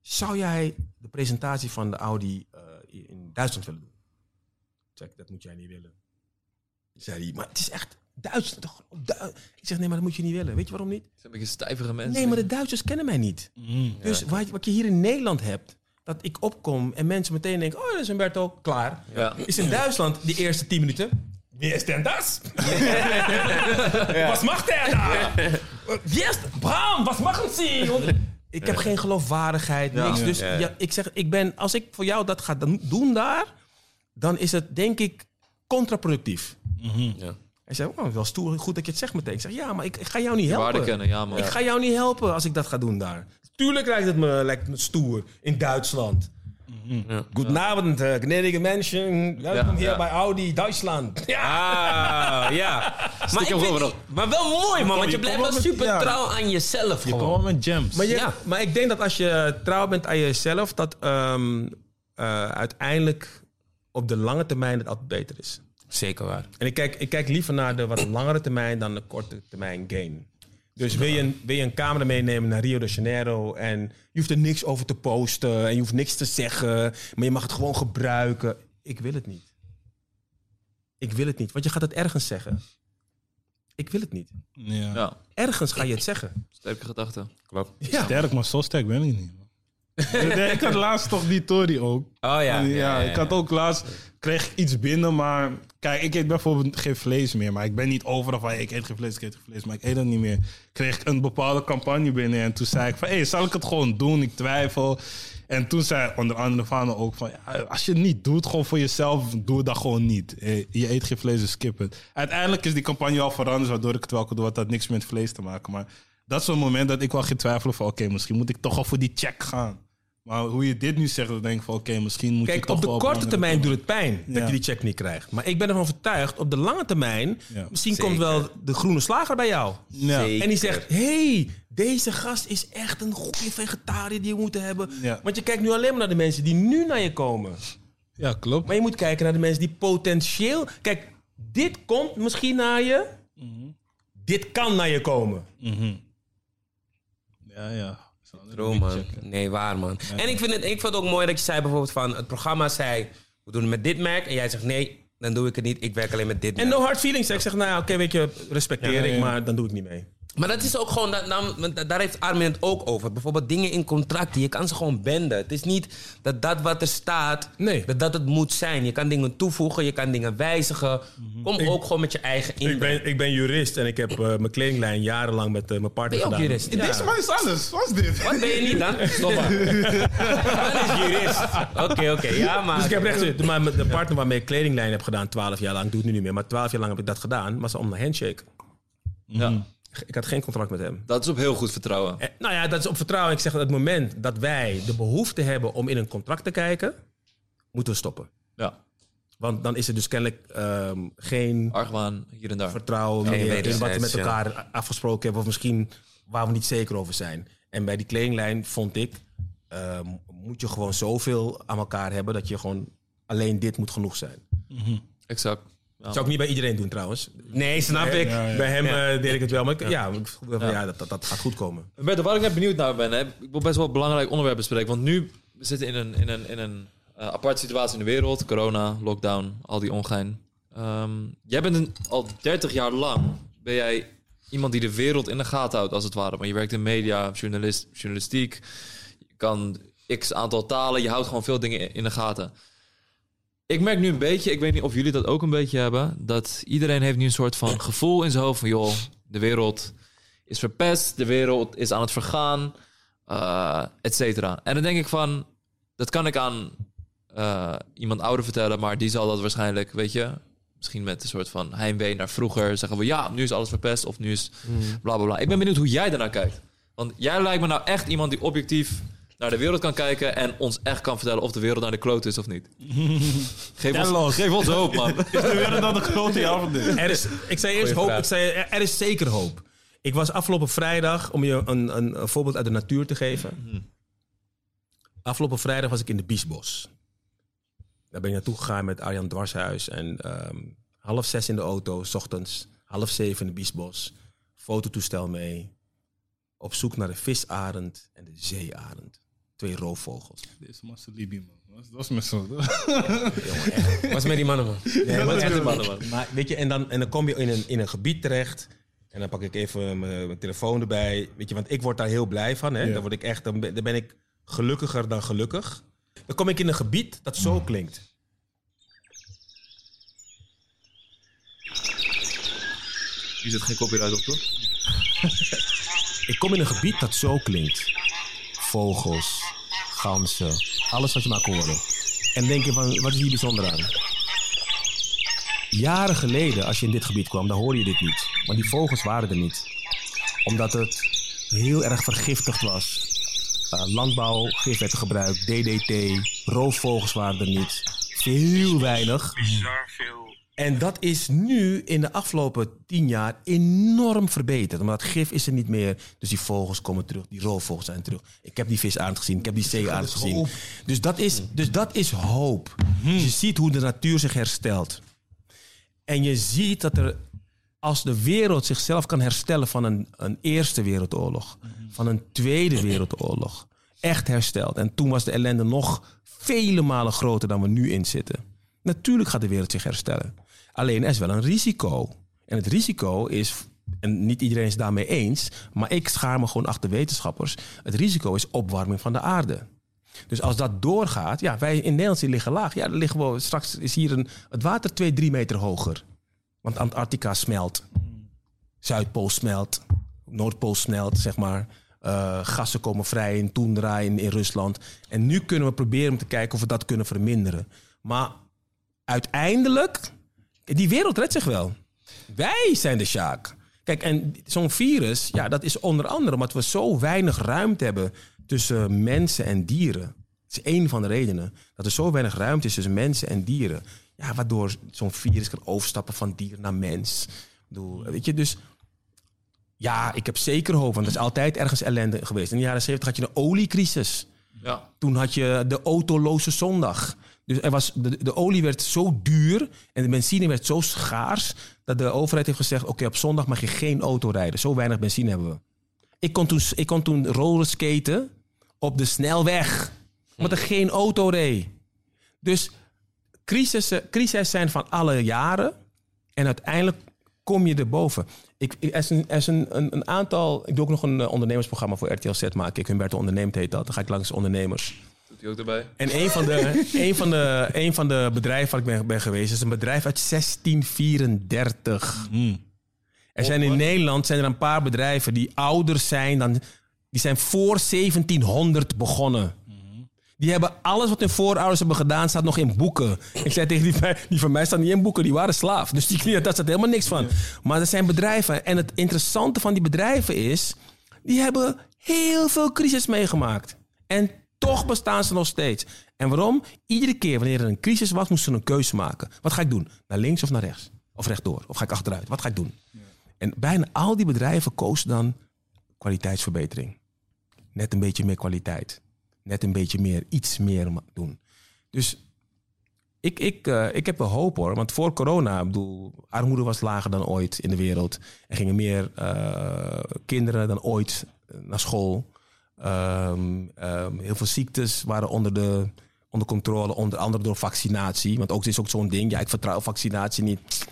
S3: Zou jij de presentatie van de Audi eh, in Duitsland willen doen? Ik zei, dat moet jij niet willen. Zei hij, maar het is echt Duitsland. toch? Du- Ik zeg, nee, maar dat moet je niet willen. Weet je waarom niet?
S2: Het zijn een beetje stijvige mensen.
S3: Nee, maar de Duitsers kennen mij niet. Dus wat, wat je hier in Nederland hebt, dat ik opkom en mensen meteen denken: oh, dat is Humberto, klaar.
S2: Ja.
S3: Is in Duitsland die eerste 10 minuten. Wie is denn das? Wat mag der da? Wie is Bram, wat machen Sie? Ik heb geen geloofwaardigheid, niks. Dus
S1: Ja.
S3: ja, ik zeg, ik ben, als ik voor jou dat ga dan- doen daar, dan is het denk ik contraproductief.
S1: Ja.
S3: Hij zei, wow, wel stoer, goed dat je het zegt meteen. Ik zeg, ja, maar ik, ik ga jou niet
S2: Waarde
S3: helpen.
S2: kennen, ja man.
S3: Ik ga jou niet helpen als ik dat ga doen daar. Tuurlijk lijkt het me, lijkt het me stoer in Duitsland.
S1: Ja.
S3: Goedenavond, eh, gnädige mensen. Welkom
S2: Ja,
S3: hier
S2: ja.
S3: bij Audi Duitsland. Ja,
S1: Ah, ja. Maar, ik vind-
S2: voorbeeld.
S1: maar wel mooi, man. Want je blijft wel
S4: komt met-
S1: super
S4: ja.
S1: trouw aan jezelf
S4: Je
S1: gewoon.
S4: komt wel met gems.
S3: maar, je-
S1: Ja.
S3: maar ik denk dat als je trouw bent aan jezelf, dat ehm, eh, uiteindelijk op de lange termijn het altijd beter is.
S1: Zeker waar.
S3: En ik kijk, ik kijk liever naar de wat langere termijn dan de korte termijn gain. Dus wil je, een, wil je een camera meenemen naar Rio de Janeiro en je hoeft er niks over te posten en je hoeft niks te zeggen, maar je mag het gewoon gebruiken. Ik wil het niet. Ik wil het niet, want je gaat het ergens zeggen. Ik wil het niet.
S4: Ja.
S2: Ja,
S3: Ergens ga je het zeggen.
S2: sterke gedachten.
S1: Klopt. Oh
S3: Ja.
S4: Sterk, maar zo sterk ben ik niet. man. Nee, ik had laatst toch die Tory ook.
S1: Oh ja.
S4: Ja,
S1: ja, ja,
S4: ik had ook laatst, kreeg ik iets binnen, maar kijk, ik eet bijvoorbeeld geen vlees meer, maar ik ben niet overal van, hey, ik eet geen vlees, ik eet geen vlees, maar ik eet dat niet meer. Kreeg ik een bepaalde campagne binnen en toen zei ik van, hey, zal ik het gewoon doen? Ik twijfel. En toen zei onder andere Fano ook van, ja, als je het niet doet, gewoon voor jezelf, doe dat gewoon niet. Eh, Je eet geen vlees, dus skip het. Uiteindelijk is die campagne al veranderd, waardoor ik het wel kon doen, want dat had niks met vlees te maken, maar dat is zo'n moment dat ik wel ging twijfelen van, oké, misschien moet ik toch al voor die check gaan. Maar hoe je dit nu zegt, dan denk ik van oké, misschien moet je
S3: Kijk,
S4: toch
S3: op de
S4: wel
S3: korte
S4: andere-
S3: termijn doet het pijn dat
S4: Ja.
S3: je die check niet krijgt. Maar ik ben ervan overtuigd, op de lange termijn,
S4: Ja.
S3: misschien
S1: Zeker.
S3: komt wel de groene slager bij jou.
S4: Ja.
S1: Zeker.
S3: En die zegt, hey, deze gast is echt een goede vegetariër die we moeten hebben.
S4: Ja.
S3: Want je kijkt nu alleen maar naar de mensen die nu naar je komen.
S4: ja, klopt.
S3: Maar je moet kijken naar de mensen die potentieel... Kijk, dit komt misschien naar je. Mhm. Dit kan naar je komen.
S4: Ja, ja.
S1: Droom, man. Nee, waar, man. En ik vind, het, ik vond het ook mooi dat je zei bijvoorbeeld van... Het programma zei, we doen het met dit merk. En jij zegt, nee, dan doe ik het niet. Ik werk alleen met dit merk.
S3: En no hard feelings. hè. Ik zeg, nou ja, oké, weet je, respecteer
S4: Ja, ja, ja.
S3: ik, maar dan doe ik niet mee.
S1: Maar dat is ook gewoon, da- nam- want da- daar heeft Armin het ook over. Bijvoorbeeld dingen in contracten, je kan ze gewoon benden. Het is niet dat dat wat er staat,
S3: Nee.
S1: dat dat het moet zijn. Je kan dingen toevoegen, je kan dingen wijzigen. Kom ook gewoon met je eigen
S3: Ik
S1: inbreng.
S3: ben, ik ben jurist en ik heb eh, mijn kledinglijn jarenlang met eh, mijn partner
S1: Ben je ook
S3: gedaan.
S1: jurist?
S3: Ja.
S4: Deze man is alles. Wat is dit?
S1: Wat ben je niet dan? Stop maar. Dat is jurist. Oké, oké, ja maar...
S3: Dus ik heb recht, maar met de partner waarmee ik kledinglijn heb gedaan, 12 jaar lang, doe het nu niet meer, maar 12 jaar lang heb ik dat gedaan, was om een handshake.
S2: Ja.
S3: Ik had geen contract met hem.
S2: Dat is op heel goed vertrouwen.
S3: Eh, Nou ja, dat is op vertrouwen. Ik zeg dat het moment dat wij de behoefte hebben om in een contract te kijken, moeten we stoppen.
S2: Ja.
S3: Want dan is er dus kennelijk ehm, geen
S2: Argwaan hier en daar.
S3: vertrouwen meer in wat we met
S1: wederzijds, ja.
S3: elkaar a- afgesproken hebben. Of misschien waar we niet zeker over zijn. En bij die kledinglijn vond ik, ehm, moet je gewoon zoveel aan elkaar hebben dat je gewoon alleen dit moet genoeg zijn.
S2: Exact. Ja.
S3: Zou ik niet bij iedereen doen trouwens.
S1: Oh. Nee, snap ik.
S4: Ja, ja.
S3: Bij hem eh, deed ik het wel, maar ik- ja, ik voelde van, ja, dat, dat, dat gaat goed komen.
S2: Humberto, waar ik net benieuwd naar ben, hè, ik wil best wel een belangrijk onderwerp bespreken. Want nu we zitten in een, in een, in een eh, aparte situatie in de wereld. Corona, lockdown, al die ongein. Ehm, jij bent een, al 30 jaar lang ben jij iemand die de wereld in de gaten houdt, als het ware. Maar je werkt in media, journalist, journalistiek. Je kan x aantal talen, je houdt gewoon veel dingen in de gaten. Ik merk nu een beetje, ik weet niet of jullie dat ook een beetje hebben, dat iedereen heeft nu een soort van gevoel in zijn hoofd van joh, de wereld is verpest, de wereld is aan het vergaan, eh et cetera. En dan denk ik van, dat kan ik aan eh, iemand ouder vertellen, maar die zal dat waarschijnlijk, weet je, misschien met een soort van heimwee naar vroeger zeggen we ja, nu is alles verpest of nu is
S3: Hmm.
S2: bla bla bla. Ik ben benieuwd hoe jij daarnaar kijkt. Want jij lijkt me nou echt iemand die objectief naar de wereld kan kijken en ons echt kan vertellen of de wereld naar de kloot is of niet. geef,
S4: Tell
S2: ons,
S4: us.
S2: geef ons hoop, man.
S4: Is de wereld dan de grote ja of nee?
S3: Er is, ik zei eerst
S1: Goeie
S3: hoop.
S1: vraag.
S3: Ik zei, er, er is zeker hoop. Ik was afgelopen vrijdag, om je een, een, een voorbeeld uit de natuur te geven.
S1: Mhm.
S3: Afgelopen vrijdag was ik in de Biesbos. Daar ben ik naartoe gegaan met Arjan Dwarshuis. En ehm, half zes in de auto, s ochtends. Half zeven in de Biesbos. Fototoestel mee. Op zoek naar de visarend en de zeearend. Twee roofvogels.
S4: Dit is Master Libi, man. Dat is- Dat is mijn zoon.
S3: Jongen, echt.
S1: Was met die mannen, man.
S3: Nee, maar
S4: dat
S3: echt
S4: is
S3: een
S4: wel-
S3: mannen, man. Maar weet je, en dan, en dan kom je in een, in een gebied terecht. En dan pak ik even mijn, mijn telefoon erbij. Weet je, want ik word daar heel blij van. Hè?
S4: Ja.
S3: Dan, word ik echt, dan, ben, dan ben ik gelukkiger dan gelukkig. Dan kom ik in een gebied dat zo klinkt.
S2: Je zit geen copyright op, toch?
S3: Ik kom in een gebied dat zo klinkt. Vogels, ganzen, alles wat je maar kon horen. En denk je van, wat is hier bijzonder aan? Jaren geleden, als je in dit gebied kwam, dan hoorde je dit niet. Want die vogels waren er niet. Omdat het heel erg vergiftigd was. Eh, landbouwgif werd gebruikt, DDT, roofvogels waren er niet. Heel weinig. En dat is nu in de afgelopen tien jaar enorm verbeterd. Omdat gif is er niet meer. Dus die vogels komen terug. Die roofvogels zijn terug. Ik heb die visaard gezien. Ik heb die zeeaard gezien. Dus dat is, dus dat is hoop. Dus je ziet hoe de natuur zich herstelt. En je ziet dat er, als de wereld zichzelf kan herstellen van een, een Eerste Wereldoorlog, van een Tweede Wereldoorlog, echt hersteld. En toen was de ellende nog vele malen groter dan we nu in zitten. Natuurlijk gaat de wereld zich herstellen. Alleen er is wel een risico. En het risico is, en niet iedereen is daarmee eens, maar ik schaar me gewoon achter wetenschappers. Het risico is opwarming van de aarde. Dus als dat doorgaat, ja, wij in Nederland liggen laag. Ja, dan liggen we, straks is hier een, het water 2, 3 meter hoger. Want Antarctica smelt. Zuidpool smelt. Noordpool smelt, zeg maar. Eh, gassen komen vrij in Toendra in, in Rusland. En nu kunnen we proberen om te kijken of we dat kunnen verminderen. Maar uiteindelijk, die wereld redt zich wel. Wij zijn de Sjaak. Kijk, en zo'n virus, ja, dat is onder andere omdat we zo weinig ruimte hebben tussen mensen en dieren. Dat is één van de redenen. Dat er zo weinig ruimte is tussen mensen en dieren. Ja, waardoor zo'n virus kan overstappen van dier naar mens. Ik bedoel, weet je, dus ja, ik heb zeker hoop, want er is altijd ergens ellende geweest. In de jaren 70 had je een oliecrisis.
S2: Ja.
S3: Toen had je de autoloze zondag. Dus er was, de, de olie werd zo duur en de benzine werd zo schaars... dat de overheid heeft gezegd, oké, op zondag mag je geen auto rijden. Zo weinig benzine hebben we. Ik kon toen, ik kon toen rollerskaten op de snelweg. Omdat er geen auto reed. Dus crisissen, crises zijn van alle jaren. En uiteindelijk kom je erboven. Ik, ik- er is, een, er is een, een, een aantal... Ik doe ook nog een eh, ondernemersprogramma voor RTL Z maken. Ik, Humberto Onderneemt heet dat. Dan ga ik langs ondernemers.
S2: Doet hij ook erbij?
S3: En een van de, een van de, een van de bedrijven waar ik ben, ben geweest, is een bedrijf uit 1634. Er zijn in Nederland zijn er een paar bedrijven die ouder zijn dan. Die zijn voor 1700 begonnen. Die hebben alles wat hun voorouders hebben gedaan, staat nog in boeken. Ik zei tegen die, van- die van mij staat niet in boeken, die waren slaaf. Dus die, daar staat helemaal niks van. Maar dat zijn bedrijven. En het interessante van die bedrijven is, die hebben heel veel crisis meegemaakt. En toch bestaan ze nog steeds. En waarom? Iedere keer wanneer er een crisis was, moesten ze een keuze maken. Wat ga ik doen? Naar links of naar rechts? Of rechtdoor? Of ga ik achteruit? Wat ga ik doen? En bijna al die bedrijven kozen dan kwaliteitsverbetering. Net een beetje meer kwaliteit. Net een beetje meer, iets meer ma- doen. Dus ik, ik, eh, ik heb wel hoop hoor. Want voor corona, ik bedoel, armoede was lager dan ooit in de wereld. Er gingen meer eh, kinderen dan ooit eh, naar school. Ehm, ehm, heel veel ziektes waren onder, de, onder controle, onder andere door vaccinatie. Want ook dit is ook zo'n ding. Ja, ik vertrouw vaccinatie niet.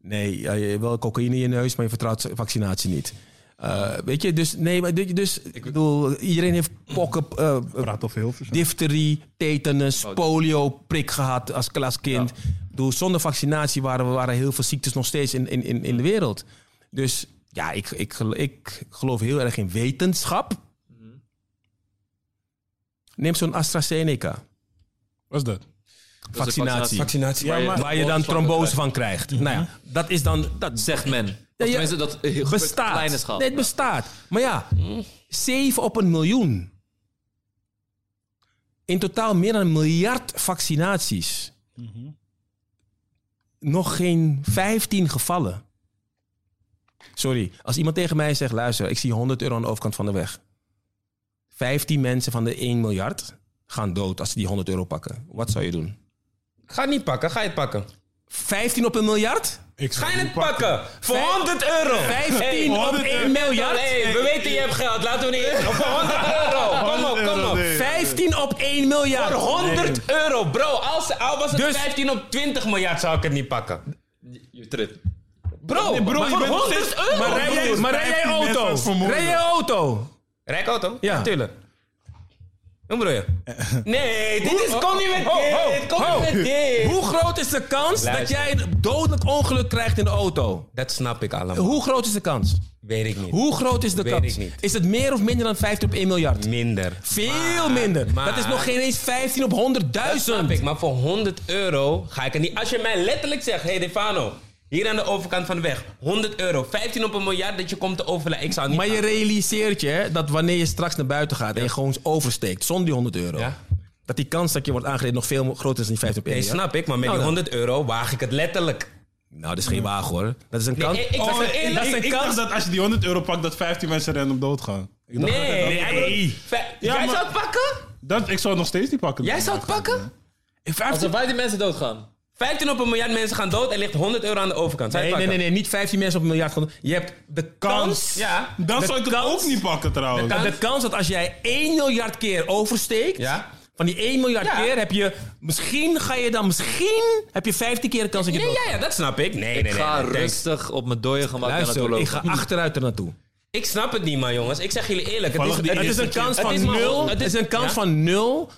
S3: Nee, eh, je hebt wel cocaïne in je neus, maar je vertrouwt vaccinatie niet. Eh, Eh, weet je, dus nee, maar dit- dus, ik bedoel, iedereen heeft pokken, eh, eh,
S4: Praat over heel veel.
S3: difterie, tetanus,
S2: Oh,
S3: polio, prik gehad als, als kind. Ik bedoel, zonder vaccinatie waren, waren heel veel ziektes nog steeds in, in, in, in
S2: Mm.
S3: de wereld. Dus ja, ik, ik, gel- ik geloof heel erg in wetenschap. Neem zo'n AstraZeneca
S4: Wat is dat?
S2: Dat is een
S3: vaccinatie.
S1: Vaccinatie.
S4: Ja, maar-
S3: Waar je dan trombose van krijgt. Nou ja,
S2: Mhm.
S3: dat is dan. Dat
S2: Zegt men. Of
S3: ja.
S2: tenminste, dat eh,
S3: bestaat.
S2: kleine schaal.
S3: Nee, het bestaat. Maar ja, 7 op een miljoen. In totaal meer dan een miljard vaccinaties. Nog geen 15 gevallen. Sorry, als iemand tegen mij zegt: luister, ik zie 100 euro aan de overkant van de weg. 15 mensen van de 1 miljard gaan dood als ze die 100 euro pakken. Wat zou je doen?
S1: Ga het niet pakken, ga je het pakken.
S3: 15 op een miljard?
S4: Ik
S1: Ga
S4: zou
S1: je
S4: niet
S1: het pakken? Voor
S3: Vijf-
S1: 100 euro.
S3: 15
S1: Hey,
S3: op
S4: 100
S3: 1 miljard?
S1: hey, we weten je hebt geld, laten we niet. Oh, Voor 100 euro, kom op, kom op.
S3: 15 op 1 miljard.
S1: Voor 100 euro, bro. Als, al was het
S3: Dus-
S1: 15 op 20 miljard, zou ik het niet pakken.
S2: Je trip.
S1: Bro, maar
S4: je
S1: voor
S4: bent nog
S1: 100
S4: steeds-
S1: euro.
S3: Maar rij jij,
S4: broer,
S3: maar rij jij
S4: 15 mensen
S3: auto?
S4: is vermoorden.
S3: Rij jij auto?
S1: Rijk auto?
S3: Ja.
S1: Natuurlijk. Hoe bedoel je? Nee, dit is, kom niet met
S3: Ho, ho,
S1: dit, kom
S3: ho.
S1: niet met dit.
S3: Hoe groot is de kans dat
S1: Luister.
S3: jij een dodelijk ongeluk krijgt in de auto?
S1: Dat snap ik allemaal.
S3: Hoe groot is de kans?
S1: Weet ik niet.
S3: Hoe groot is de
S1: Weet
S3: kans?
S1: ik niet.
S3: Is het meer of minder dan 15 op 1 miljard?
S1: Minder.
S3: Veel
S1: Maar-
S3: minder.
S1: maar-
S3: dat is nog geen eens 15 op
S1: Dat
S3: 100.000.
S1: snap ik, maar voor 100 euro ga ik er niet. Als je mij letterlijk zegt: hey Defano, hier aan de overkant van de weg, 100 euro, 15 op een miljard dat je komt te overlijden. Ik zou niet.
S3: Maar je realiseert je hè, dat wanneer je straks naar buiten gaat en je gewoon oversteekt zonder die 100 euro,
S1: Ja.
S3: dat die kans dat je wordt aangereden nog veel groter is dan die 15 op 1
S1: nee,
S3: miljard.
S1: snap ik, maar met
S3: Nou,
S1: die
S3: dan-
S1: 100 euro waag ik het letterlijk.
S3: Nou, dat is geen wagen hoor. Dat is een kans.
S1: ik- ik-
S4: Oh,
S1: Dat is een-
S4: ik-
S1: dat is
S4: ik-
S1: een
S4: ik
S1: kans.
S4: dacht dat als je die 100 euro pakt, dat 15 mensen random doodgaan. Ik dacht dat-
S1: Nee, hij bedoelt- Fe-
S4: Ja,
S1: jij
S4: maar-
S1: zou het pakken?
S4: Dat, ik zou het nog steeds niet pakken.
S1: Jij zou het pakken?
S2: Alsof wij die mensen doodgaan.
S1: 15 op een miljard mensen gaan dood en ligt 100 euro aan de overkant. Zou je
S3: Nee,
S1: het
S3: nee, nee,
S1: pakken?
S3: nee, niet 15 mensen op een miljard. gewoon- Je hebt de kans.
S1: Ja.
S4: Dan
S3: De
S4: zou ik het
S3: kans-
S4: ook niet pakken trouwens.
S3: De kans dat als jij 1 miljard keer oversteekt.
S1: Ja.
S3: Van die 1 miljard
S1: Ja.
S3: keer heb je. Misschien ga je dan. Misschien heb je 15 keer de kans dat je.
S1: Nee,
S3: doodgaat.
S1: ja, ja, dat snap ik. Nee, nee,
S2: Ik
S1: nee.
S2: ga
S1: nee, thanks.
S2: rustig op mijn dode gemak naar naartoe
S3: Luister,
S2: lopen.
S3: ik ga achteruit er naartoe.
S1: Ik snap het niet, maar jongens. Ik zeg jullie eerlijk. Het is,
S4: Toevallig die
S1: het is een kans
S3: van
S1: van
S3: nul.
S1: 0.
S3: Het is een kans van 0,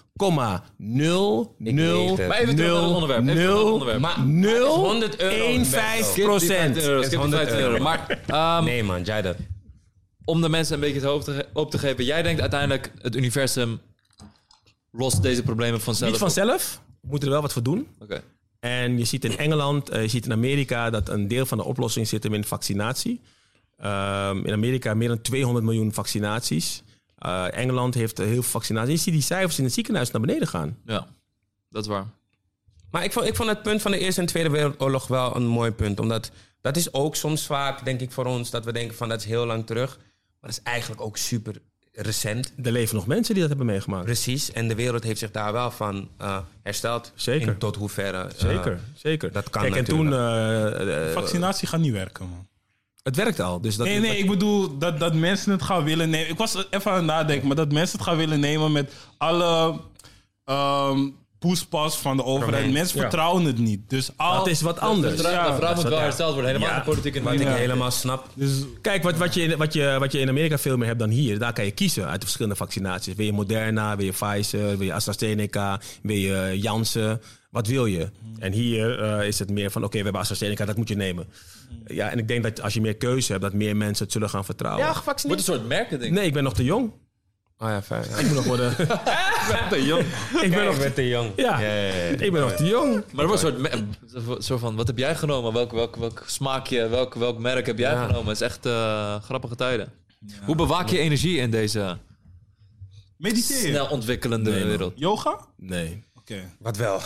S3: 0, 0,
S1: weet het.
S2: Maar even terug naar het onderwerp. Even terug naar het
S3: 0,
S2: onderwerp.
S1: Maar- maar
S3: 0,
S1: het is 100 euro,
S3: 1,5
S2: Skip die 15
S3: procent.
S2: euro,
S1: Is
S2: skip die
S1: 100
S2: 15 euro.
S1: euro.
S2: Maar ehm,
S1: Nee, man, jij dat.
S2: om de mensen een beetje het hoofd te ge- op te geven. Jij denkt uiteindelijk, het universum lost deze problemen vanzelf.
S3: Niet vanzelf. We moeten er wel wat voor doen.
S2: op. Oké.
S3: En je ziet in Engeland, eh, je ziet in Amerika dat een deel van de oplossing zit hem in vaccinatie. Ehm, in Amerika meer dan 200 miljoen vaccinaties. Eh, Engeland heeft eh, heel veel vaccinaties. Je ziet die cijfers in het ziekenhuis naar beneden gaan.
S2: Ja, dat is waar.
S1: Maar ik vond, ik vond het punt van de Eerste en Tweede Wereldoorlog wel een mooi punt. Omdat dat is ook soms vaak, denk ik, voor ons, dat we denken van dat is heel lang terug. Maar dat is eigenlijk ook super recent.
S3: Er leven nog mensen die dat hebben meegemaakt.
S1: Precies. En de wereld heeft zich daar wel van eh, hersteld.
S3: Zeker.
S1: In tot hoeverre. eh,
S3: Zeker, zeker.
S1: dat kan
S3: Kijk, en toen... eh, eh,
S4: Vaccinatie gaat niet werken, man.
S3: het werkt al. Dus dat,
S4: Nee, nee, ik bedoel dat, dat mensen het gaan willen nemen. Ik was even aan het nadenken, maar dat mensen het gaan willen nemen met alle ehm poespas van de overheid.
S1: Eromheen,
S4: Mensen
S3: ja.
S4: vertrouwen het niet. Dus al,
S3: Dat is wat anders.
S2: De
S4: Ja,
S2: vraag
S3: dat
S2: moet
S3: is wat-
S2: wel
S3: ja.
S2: hersteld worden. Helemaal
S3: Ja.
S2: in de politieke
S1: Wat ik
S2: economie.
S1: helemaal snap.
S4: dus
S3: Kijk, wat, wat, je in, wat, je, wat je in Amerika veel meer hebt dan hier, daar kan je kiezen uit de verschillende vaccinaties. Wil je Moderna, wil je Pfizer, wil je AstraZeneca, wil je Janssen, wat wil je? En hier eh, is het meer van, oké, we hebben AstraZeneca, dat moet je nemen. Ja, en ik denk dat als je meer keuze hebt, dat meer mensen het zullen gaan vertrouwen.
S2: Het wordt een soort merkending.
S3: Nee, ik ben nog te jong.
S1: Oh ja, fijn.
S3: Ik moet nog worden... ik ben nog...
S1: Ik ben te jong.
S3: Ja, ik ben nog te jong.
S2: Maar er wordt een soort, mer- soort van, wat heb jij genomen? Welk, welk, welk smaakje, welk, welk merk heb jij
S1: Ja.
S2: genomen? Het is echt eh, grappige tijden. Hoe bewaak je energie in deze
S4: mediteren.
S2: snel ontwikkelende
S3: Nee, man.
S2: wereld?
S4: Yoga? Oké.
S3: Nee,
S1: Wat wel.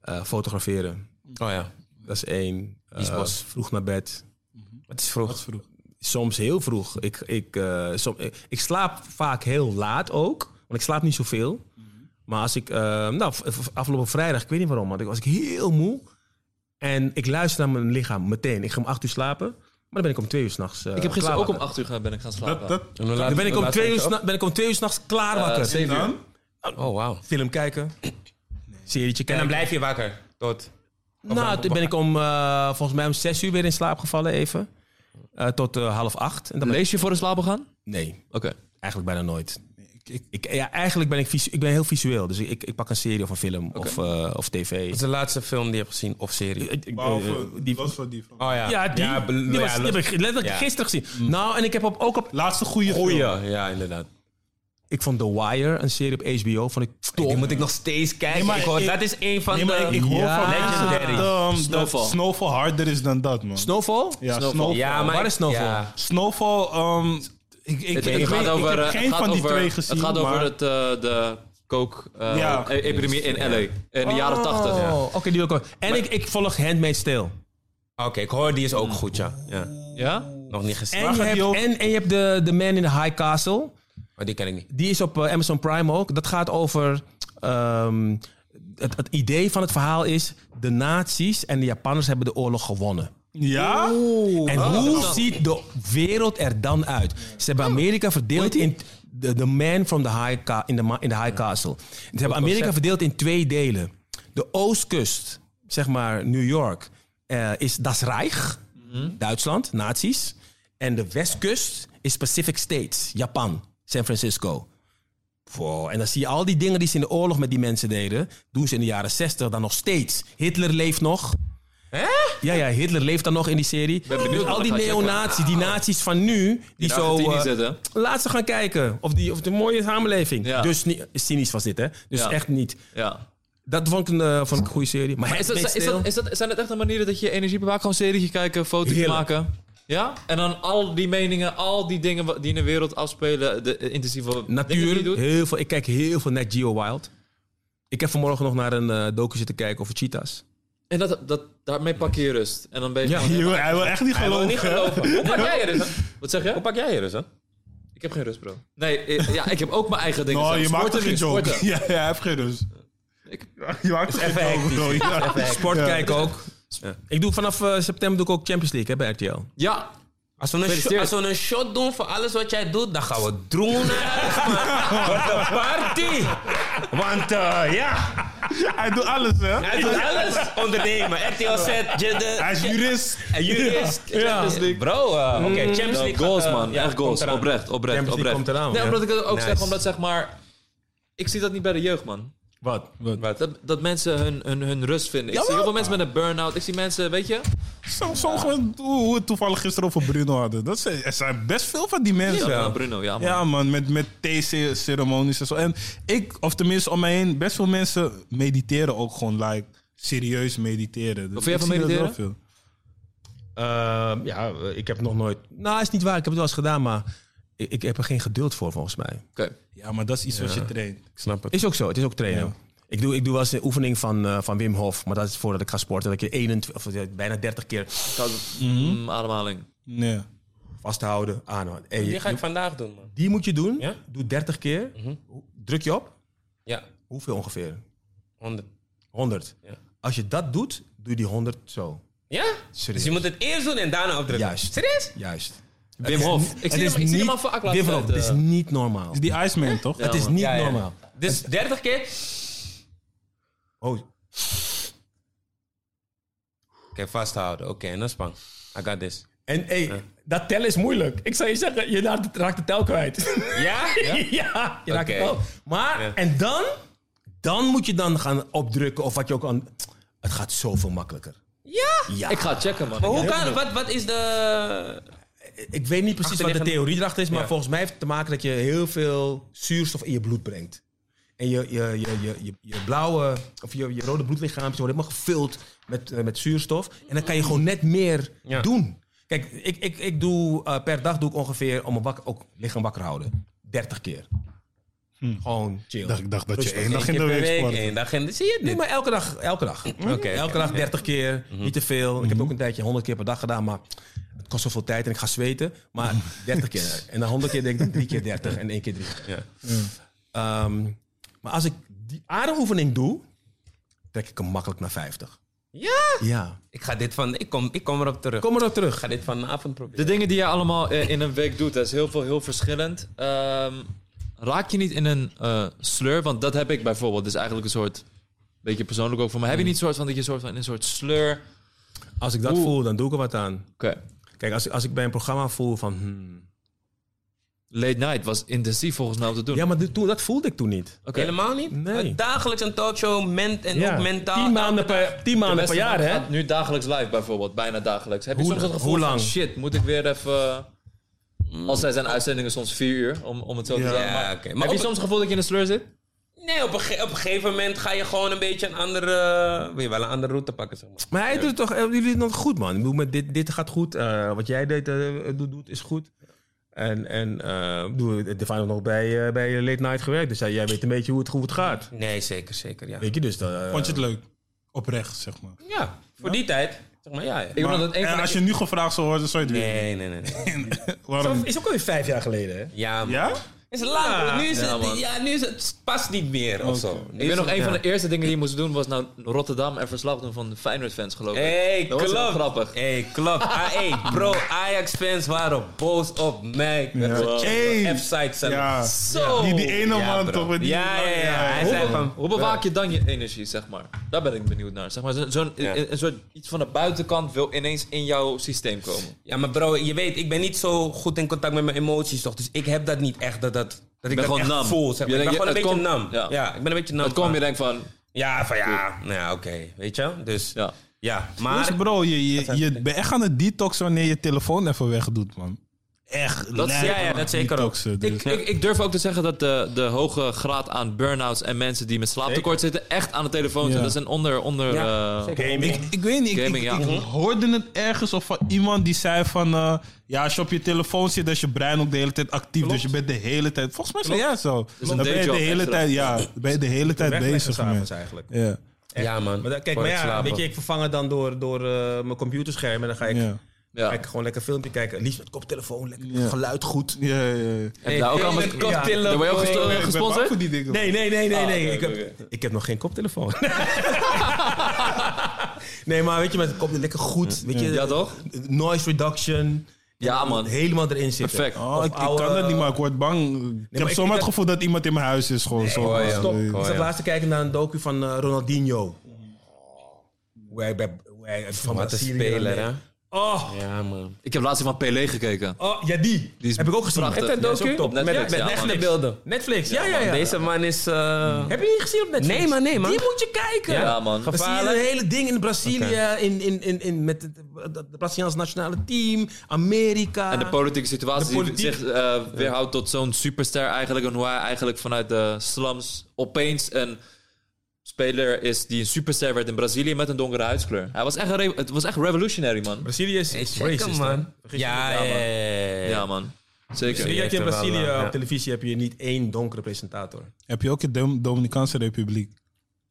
S3: Eh, fotograferen,
S1: Oh ja.
S3: dat is één.
S1: is
S3: Eh,
S1: bos.
S3: vroeg naar bed.
S1: Het is vroeg.
S4: Dat is vroeg.
S3: Soms heel vroeg. Ik, ik, eh, som- ik, ik slaap vaak heel laat ook. Want ik slaap niet zoveel. Maar als ik... eh, nou, v- v- afgelopen vrijdag, ik weet niet waarom, maar ik was ik heel moe. En ik luister naar mijn lichaam meteen. Ik ga om acht uur slapen. Maar dan ben ik om twee uur s'nachts eh,
S2: Ik heb gisteren ook om 8 uur gaan, ben ik gaan slapen.
S4: Dat, dat,
S1: En hoe laat-
S3: Dan ben ik
S1: hoe
S3: om
S1: laat
S3: twee uur,
S1: sta je op?
S3: s'na- ben ik om twee uur s'nachts klaar wakker.
S2: Eh, zeven uur.
S4: dan?
S1: Oh, wauw.
S3: Film kijken. Serietje
S1: En
S3: kijken.
S1: dan blijf je wakker. Tot.
S3: Nou, toen ben ik om, eh, volgens mij om zes uur weer in slaap gevallen even. eh, tot eh, half acht. En dan ben ik-
S2: Lees je voor de slapen gaan?
S3: Nee,
S2: Oké.
S3: eigenlijk bijna nooit. Ik, ja, eigenlijk ben ik, visu- ik ben heel visueel. Dus ik, ik pak een serie of een film of, eh, of tv.
S1: is de laatste film die je hebt gezien of serie?
S3: Ik- ik-
S4: Behalve,
S3: eh, die,
S4: was voor die van.
S1: Oh ja.
S3: ja, die,
S1: Ja, bel-
S3: die, was,
S1: ja,
S3: die heb ik letterlijk
S1: ja.
S3: gisteren gezien. Nou, en ik heb op, ook op...
S4: Laatste goede
S1: Goeie,
S4: film.
S1: ja, inderdaad.
S3: Ik vond The Wire, een serie op HBO, vond ik top.
S1: Die moet ik nog steeds kijken.
S4: Nee, maar
S1: Ik hoor-
S4: ik-
S1: dat is een van
S4: Nee, maar
S1: de...
S4: ik, ik hoor
S3: Ja.
S4: van mensen dat,
S1: Legendary.
S4: ehm, dat
S2: Snowfall.
S4: Snowfall. harder is dan dat, man.
S3: Snowfall?
S4: ja,
S2: Snowfall.
S4: Snowfall.
S1: ja, maar
S3: Waar is Snowfall?
S1: Ja.
S4: Snowfall, ehm, ik, ik,
S2: Het,
S4: ik,
S2: het
S4: weet-
S2: gaat
S4: ik
S2: over,
S4: heb
S2: eh,
S4: geen
S2: het gaat
S4: van die
S2: over-
S4: twee gezien.
S2: Het gaat over
S4: maar-
S2: het, eh, de
S4: Ja.
S2: coke-epidemie in LA. In de jaren tachtig.
S3: Oh, Oké, die wil ik ook. En ik, ik volg Handmaid's Tale.
S1: Ah, Oké, ik hoor die is ook goed, ja. ja.
S2: Ja?
S1: Nog niet gezien.
S3: En je,
S4: gaat
S3: hebt,
S4: die ook-
S3: en, en je hebt de, de Man in the High Castle.
S1: Maar die ken ik niet.
S3: Die is op eh, Amazon Prime ook. Dat gaat over... ehm, het, het idee van het verhaal is... de nazi's en de Japanners hebben de oorlog gewonnen.
S4: Ja?
S3: En hoe ziet de wereld er dan uit? Ze hebben Amerika verdeeld in the, the man from the high ca- in, the, ma- in the high castle. Ze hebben Amerika verdeeld in twee delen. De oostkust, zeg maar New York, eh, is Das Reich, Duitsland, nazi's. En de westkust is Pacific States, Japan, San Francisco. Wow, En dan zie je al die dingen die ze in de oorlog met die mensen deden, doen ze in de jaren 60 dan nog steeds. Hitler leeft nog. Ja, ja, Hitler leeft dan nog in die serie.
S2: ben benieuwd
S3: Dus al
S2: wat
S3: die
S2: dat gaat
S3: neonazies, die nazi's van nu, die
S2: in
S3: zo...
S2: Argentinië
S3: eh,
S2: zitten.
S3: laat ze gaan kijken. Of, die, of de mooie samenleving.
S2: Ja.
S3: Dus niet, cynisch was dit, hè? Dus
S2: Ja.
S3: echt niet.
S2: Ja.
S3: Dat vond ik een, eh, vond ik een goede serie. Maar,
S2: Is dat,
S3: Handmaid's
S2: is
S3: Tale-
S2: dat, is dat, zijn het echt een manier dat je energie bewaakt? Gewoon een serietje kijken, foto's
S3: Heerlijk.
S2: maken? Ja? En dan al die meningen, al die dingen wat- die in de wereld afspelen, de eh, intensieve dingen die je
S3: Natuur,
S2: doet.
S3: heel veel, ik kijk heel veel naar Geo Wild. Ik heb vanmorgen nog naar een eh, docu zitten kijken over cheetahs.
S2: En dat, dat, daarmee pak je je rust. En dan ben je
S3: Ja.
S2: gewoon-
S4: Je wil- hij wil echt niet
S2: Ik wil
S4: geloven.
S2: niet geloven. Hoe pak jij je rust? Wat zeg je?
S1: Hoe pak jij je dus, hè?
S2: Ik heb geen rust, bro. Nee, eh, ja, ik heb ook mijn eigen dingen.
S4: Nou,
S2: zelf.
S4: je maakt toch geen
S2: nu,
S4: joke?
S2: sporten.
S4: Ja, ja, hij heeft geen rust.
S2: Ik-
S4: Je maakt toch geen joke, bro? Ja.
S3: Sport
S4: Ja.
S3: kijken ook. Ik doe vanaf eh, september doe ik ook Champions League hè, bij RTL.
S2: Ja,
S1: Als we, een
S2: Gefeliciteerd.
S1: sho- als we een shot doen voor alles wat jij doet, dan gaan we droenen. man. Wordt een party. Want eh, ja,
S4: Hij doet alles, hè?
S1: hij doet alles ondernemen. RTL Z,
S4: Hij
S1: Jeddah,
S4: is jurist.
S1: jurist.
S2: Ja.
S1: Bro, eh, oké, Champions
S2: Nou,
S1: League.
S2: goals,
S1: gaat, eh,
S2: man.
S1: ja,
S2: Echt goals.
S1: komt eraan.
S2: Oprecht, oprecht,
S3: Champions
S2: oprecht.
S3: League komt eraan,
S2: nee,
S3: ja.
S2: omdat ik het ook
S1: Nice.
S2: zeg, omdat zeg maar... Ik zie dat niet bij de jeugd, man.
S3: Wat?
S2: Dat, dat mensen hun, hun, hun rust vinden. Ik zie heel veel mensen met een burn-out. Ik zie mensen, weet je...
S4: Zo, zo gewoon hoe we het toevallig gisteren over Bruno hadden. Dat zijn, er zijn best veel van die mensen.
S2: Ja, Bruno, ja, man.
S4: Ja, man, met, met TC-ceremonies en zo. En ik, of tenminste om mij heen, best veel mensen mediteren ook gewoon, like, serieus mediteren.
S2: Vind
S4: Dus
S2: jij
S4: ik
S2: van
S4: zie dat wel
S2: mediteren?
S4: veel.
S3: Ehm, ja, eh, ik heb nog nooit. Nou, is niet waar. Ik heb het wel eens gedaan, maar ik, ik heb er geen geduld voor volgens mij.
S2: Oké.
S4: Ja, maar dat is iets wat je traint.
S1: Ik snap het.
S3: Is ook zo. Het is ook trainen. Ik doe, ik doe wel eens een oefening van, eh, van Wim Hof, maar dat is voordat ik ga sporten. Dat ik je 21, of eh, bijna 30 keer
S2: Koude- Mm, ademhaling.
S4: Nee.
S3: vasthouden, aanhouden. Ah, nou, Hey,
S1: Die
S3: die,
S1: ga ik vandaag doen, man.
S3: moet je doen.
S1: Ja?
S3: Doe 30 keer. Druk je op.
S1: Ja,
S3: Hoeveel ongeveer?
S1: 100.
S3: 100.
S1: Ja.
S3: Als je dat doet, doe je die 100 zo.
S1: Ja? Dus
S3: Serieus.
S1: je moet het eerst doen en daarna opdrukken.
S3: Juist.
S1: Serieus?
S3: Juist.
S2: Wim Hof. Ik zie
S3: Het
S2: hem- ik zie hem
S3: niet-
S2: al voor Akla.
S3: Wim Hof, het is niet normaal.
S4: Is die Iceman, toch?
S2: Ja,
S3: Het is
S2: man.
S3: niet
S1: Ja, ja.
S3: normaal.
S1: Dus 30 keer.
S3: Oh,
S1: Oké, vasthouden. Oké, en dan spang. I got this.
S5: En hey, dat tellen is moeilijk. Ik zou je zeggen, je raakt- raakt de tel kwijt.
S1: Ja?
S5: Ja, je raakt de
S1: Oké.
S5: tel.
S3: Maar,
S1: Ja.
S3: en dan? Dan moet je dan gaan opdrukken of wat je ook aan... Het gaat zoveel makkelijker.
S1: Ja?
S3: Ja.
S2: Ik
S3: Ik,
S2: ga het checken, man.
S1: Maar hoe
S2: Ik-
S1: kan, wat, wat is de...
S3: ik weet niet precies wat de
S1: Achterliggende-
S3: theorie erachter is, maar
S1: Ja.
S3: volgens mij heeft het te maken dat je heel veel zuurstof in je bloed brengt. En je, je, je, je, je, je blauwe, of je, je rode bloedlichaampjes worden helemaal gevuld met, eh, met zuurstof. En dan kan je gewoon net meer
S1: Ja.
S3: doen. Kijk, ik, ik, ik doe, eh, per dag doe ik ongeveer, om mijn wakker, ook lichaam wakker houden, 30 keer. Gewoon chill.
S4: Ik Hm. dacht, ik dacht dat je
S3: Rustig.
S4: één dag in
S1: Eén
S4: de
S1: keer per
S4: week sport.
S1: één dag in de... Zie je
S3: Nee,
S1: dit?
S3: maar elke dag, elke dag.
S1: oké,
S3: elke
S1: oké.
S3: dag 30 keer, niet te veel. Ik heb ook een tijdje 100 keer per dag gedaan, maar het kost zoveel tijd en ik ga zweten. Maar 30 keer. En dan 100 keer denk ik 3 keer 30 en 1 keer 3.
S1: Ja.
S3: Ehm, maar als ik die ademoefening doe, trek ik hem makkelijk naar 50.
S1: Ja?
S3: Ja.
S1: Ik ga dit van... Ik kom, ik kom erop terug.
S3: Kom erop terug.
S1: Ik ga dit vanavond proberen.
S2: De dingen die jij allemaal eh, in een week doet, dat is heel veel, heel verschillend. Ehm, raak je niet in een eh, sleur? Want dat heb ik bijvoorbeeld. Dus eigenlijk een soort, beetje persoonlijk ook voor me. Heb je niet soort van dat je soort van in een soort sleur?
S3: Als ik dat
S2: Oeh.
S3: voel, dan doe ik er wat aan.
S2: Oké.
S3: Kijk, Kijk, als, ik- als ik bij een programma voel van... hmm.
S2: Late night was intensief volgens mij om te doen.
S3: Ja, maar dit- toen, dat voelde ik toen niet.
S2: Oké.
S1: Helemaal niet?
S3: Nee.
S1: Uh, Dagelijks een talkshow, ment en
S5: Ja.
S1: ook mentaal.
S5: Tien maanden per, tien
S2: De
S5: maanden per
S2: beste
S5: jaar,
S2: man
S5: hè?
S2: gaat Nu dagelijks live bijvoorbeeld, bijna dagelijks. Heb je
S3: Hoe-
S2: soms het gevoel
S3: hoe lang?
S2: van shit, moet ik weer even... Al zijn zijn uitzendingen soms vier uur, om, om het zo te
S4: Ja.
S2: zeggen.
S1: Ja,
S2: Maar,
S1: oké.
S2: heb
S1: Maar
S2: je
S1: op-
S2: soms het gevoel dat je in de slur zit?
S1: Nee, op een, ge- op een gegeven moment ga je gewoon een beetje een andere... Wil je wel een andere route pakken, zeg maar.
S3: Maar hij doet toch, eh, jullie doen het goed, man. Ik bedoel, met dit, dit gaat goed. Eh, wat jij deed, eh, doet, doet, is goed. En, en eh, ik bedoel, Define had nog bij, eh, bij Late Night gewerkt. Dus jij- jij weet een beetje hoe het, hoe het gaat.
S1: Nee, zeker, zeker, ja.
S3: Weet je, dus... dat, eh,
S4: Vond je het leuk? Oprecht, zeg maar.
S1: Ja, voor die tijd. Zeg maar, ja, ja.
S2: Ik
S4: Maar-
S2: vond dat een
S4: en
S2: van de-
S4: als je nu gevraagd zou worden, zou je het
S1: Nee, nee, nee. nee.
S4: weten. Waarom? niet?
S5: Is ook alweer vijf jaar geleden, hè?
S1: Ja, man.
S4: Ja?
S1: Is lang. hoor. Nu is
S2: Ja,
S1: het,
S2: man.
S1: ja, nu is het past niet meer of zo.
S2: Ik weet nog, een van de eerste dingen die je moest doen was naar Rotterdam en verslag doen van de Feyenoord-fans, geloof ik.
S1: Hey,
S2: dat was wel
S1: klopt.
S2: grappig.
S1: Hey, klopt. Ah, hey, bro, Ajax-fans waren boos op mij.
S4: Hey.
S1: F-site zelf.
S4: Ja.
S1: Zo.
S4: Die- die ene man
S1: bro.
S4: toch, met die-
S1: Ja, ja, ja.
S4: Ja,
S1: Hij
S4: ja.
S1: zei
S2: Hoe,
S1: van...
S2: hoe bewaak je dan je energie, zeg maar? Daar ben ik benieuwd naar. Zeg maar, zo- zo'n,
S1: Ja.
S2: een, een soort iets van de buitenkant wil ineens in jouw systeem komen.
S1: Ja, maar bro, je weet, ik ben niet zo goed in contact met mijn emoties toch. Dus ik heb dat niet echt, dat, dat, dat ik
S2: bent
S1: dat
S2: gewoon
S1: echt
S2: nam.
S1: voel. Zeg maar.
S2: Je
S1: Ik ben
S2: denkt,
S1: gewoon een beetje
S2: het komt-
S1: nam. Ja.
S2: ja.
S1: ik ben een beetje nam.
S2: Dan kom je
S1: van-
S2: denk van,
S1: Ja, van ja, nou ja, oké. Weet je? Dus ja,
S2: ja.
S1: maar...
S4: Dus bro, je, je, je bent echt aan het detoxen wanneer je telefoon even wegdoet, man. Echt.
S2: Dat-
S4: lijp
S1: ja, ja,
S4: aan
S1: dat zeker ook.
S4: detoxen, dus.
S2: Ik, ik, ik durf ook te zeggen dat de, de hoge graad aan burn-outs en mensen die met slaaptekort zitten echt aan de telefoon zitten.
S4: Ja.
S2: Dat is een onder... onder
S1: Ja,
S2: eh,
S1: zeker.
S4: Ik, ik weet niet, ik,
S2: Gaming,
S4: ik-
S2: ja.
S4: ik hoorde het ergens of van iemand die zei van... eh, ja, als je op je telefoon zit, is je brein ook de hele tijd actief. Dus je bent de hele tijd... Volgens mij is het ja zo. Dan ben je de
S2: dayjob
S4: hele
S2: extra.
S4: tijd, ja, dan ben je de hele tijd
S3: wegleggen
S4: bezig.
S3: s'avonds
S4: man.
S3: eigenlijk.
S4: Ja.
S1: Ja, man.
S3: Maar dan- kijk,
S1: Voor
S3: maar
S1: het
S3: ja,
S1: slapen.
S3: weet je, ik vervang het dan door, door eh, mijn computerscherm. En dan ga ik,
S4: Ja.
S2: ja.
S3: ga ik gewoon lekker filmpje kijken. Liefst met koptelefoon, lekker geluid goed.
S4: Ja, ja, ja.
S2: Heb je daar ook
S1: Hey,
S2: allemaal...
S1: met koptelefoon.
S2: Daar word je ook gesto-
S4: Ik ben bang
S2: eh, gesponsord?
S4: voor die dingen.
S3: Nee, nee, nee, nee,
S2: Ah,
S3: nee.
S2: oké,
S3: ik, heb,
S2: oké.
S3: ik heb nog geen koptelefoon. nee, maar weet je, met het kop lekker goed. Weet je,
S2: Mm. Ja, toch?
S3: Noise reduction.
S2: Ja, man.
S3: Helemaal erin zitten.
S2: Perfect.
S4: Oh,
S3: Of
S4: ik, ik
S3: oude-
S4: kan dat niet, maar ik word bang. ik heb
S3: ik-
S4: zomaar
S3: ik-
S4: het gevoel dat iemand in mijn huis is. Gewoon zo. Dus
S1: Oh, ja.
S3: Stop.
S1: Oh,
S3: ik zat
S1: ja.
S3: laatst te kijken naar een docu van eh, Ronaldinho. Hoe hij, bij, hoe hij van
S1: Wat een
S3: Brazilië
S1: speler,
S3: dan-
S1: hè?
S3: Oh,
S1: Ja, man.
S2: Ik heb laatst die van Pelé gekeken.
S3: oh, ja, die.
S2: Die is
S3: heb ik ook gezien.
S2: prachtig.
S3: Heb je dat
S2: Ja, is
S3: docu?
S2: ook top.
S3: Met-
S2: Netflix,
S3: met
S2: ja, man.
S3: Netflix.
S1: Echte beelden.
S3: Netflix, ja, ja, ja.
S1: Deze man is... eh,
S3: Heb je die niet gezien op Netflix?
S1: Nee, man, nee, man.
S3: Die moet je kijken.
S2: Ja, man.
S3: Dan zie je
S1: Gevaarlijk.
S3: het hele ding in Brazilië, in, in, in, in, met het het Braziliaans nationale team, Amerika.
S2: En de politieke situatie
S3: De politiek.
S2: die zich eh, weerhoudt tot zo'n superster eigenlijk. En hoe hij eigenlijk vanuit de slums opeens een speler is die een superster werd in Brazilië met een donkere huidskleur. Hij was echt een re- het was echt revolutionary, man.
S3: Brazilië is
S1: Hey,
S3: is
S1: check hem,
S3: racist, hè?
S1: man.
S3: Vergis je
S1: Ja,
S3: niet,
S1: ja,
S3: man.
S1: ja, Oh, ja.
S2: Ja, man. Zeker.
S3: Weet
S1: Ja.
S3: je dat je in
S1: heeft er wel,
S3: Brazilië
S1: eh, ja.
S3: op televisie heb je niet één donkere presentator.
S4: Heb je ook in de Dominicaanse Republiek?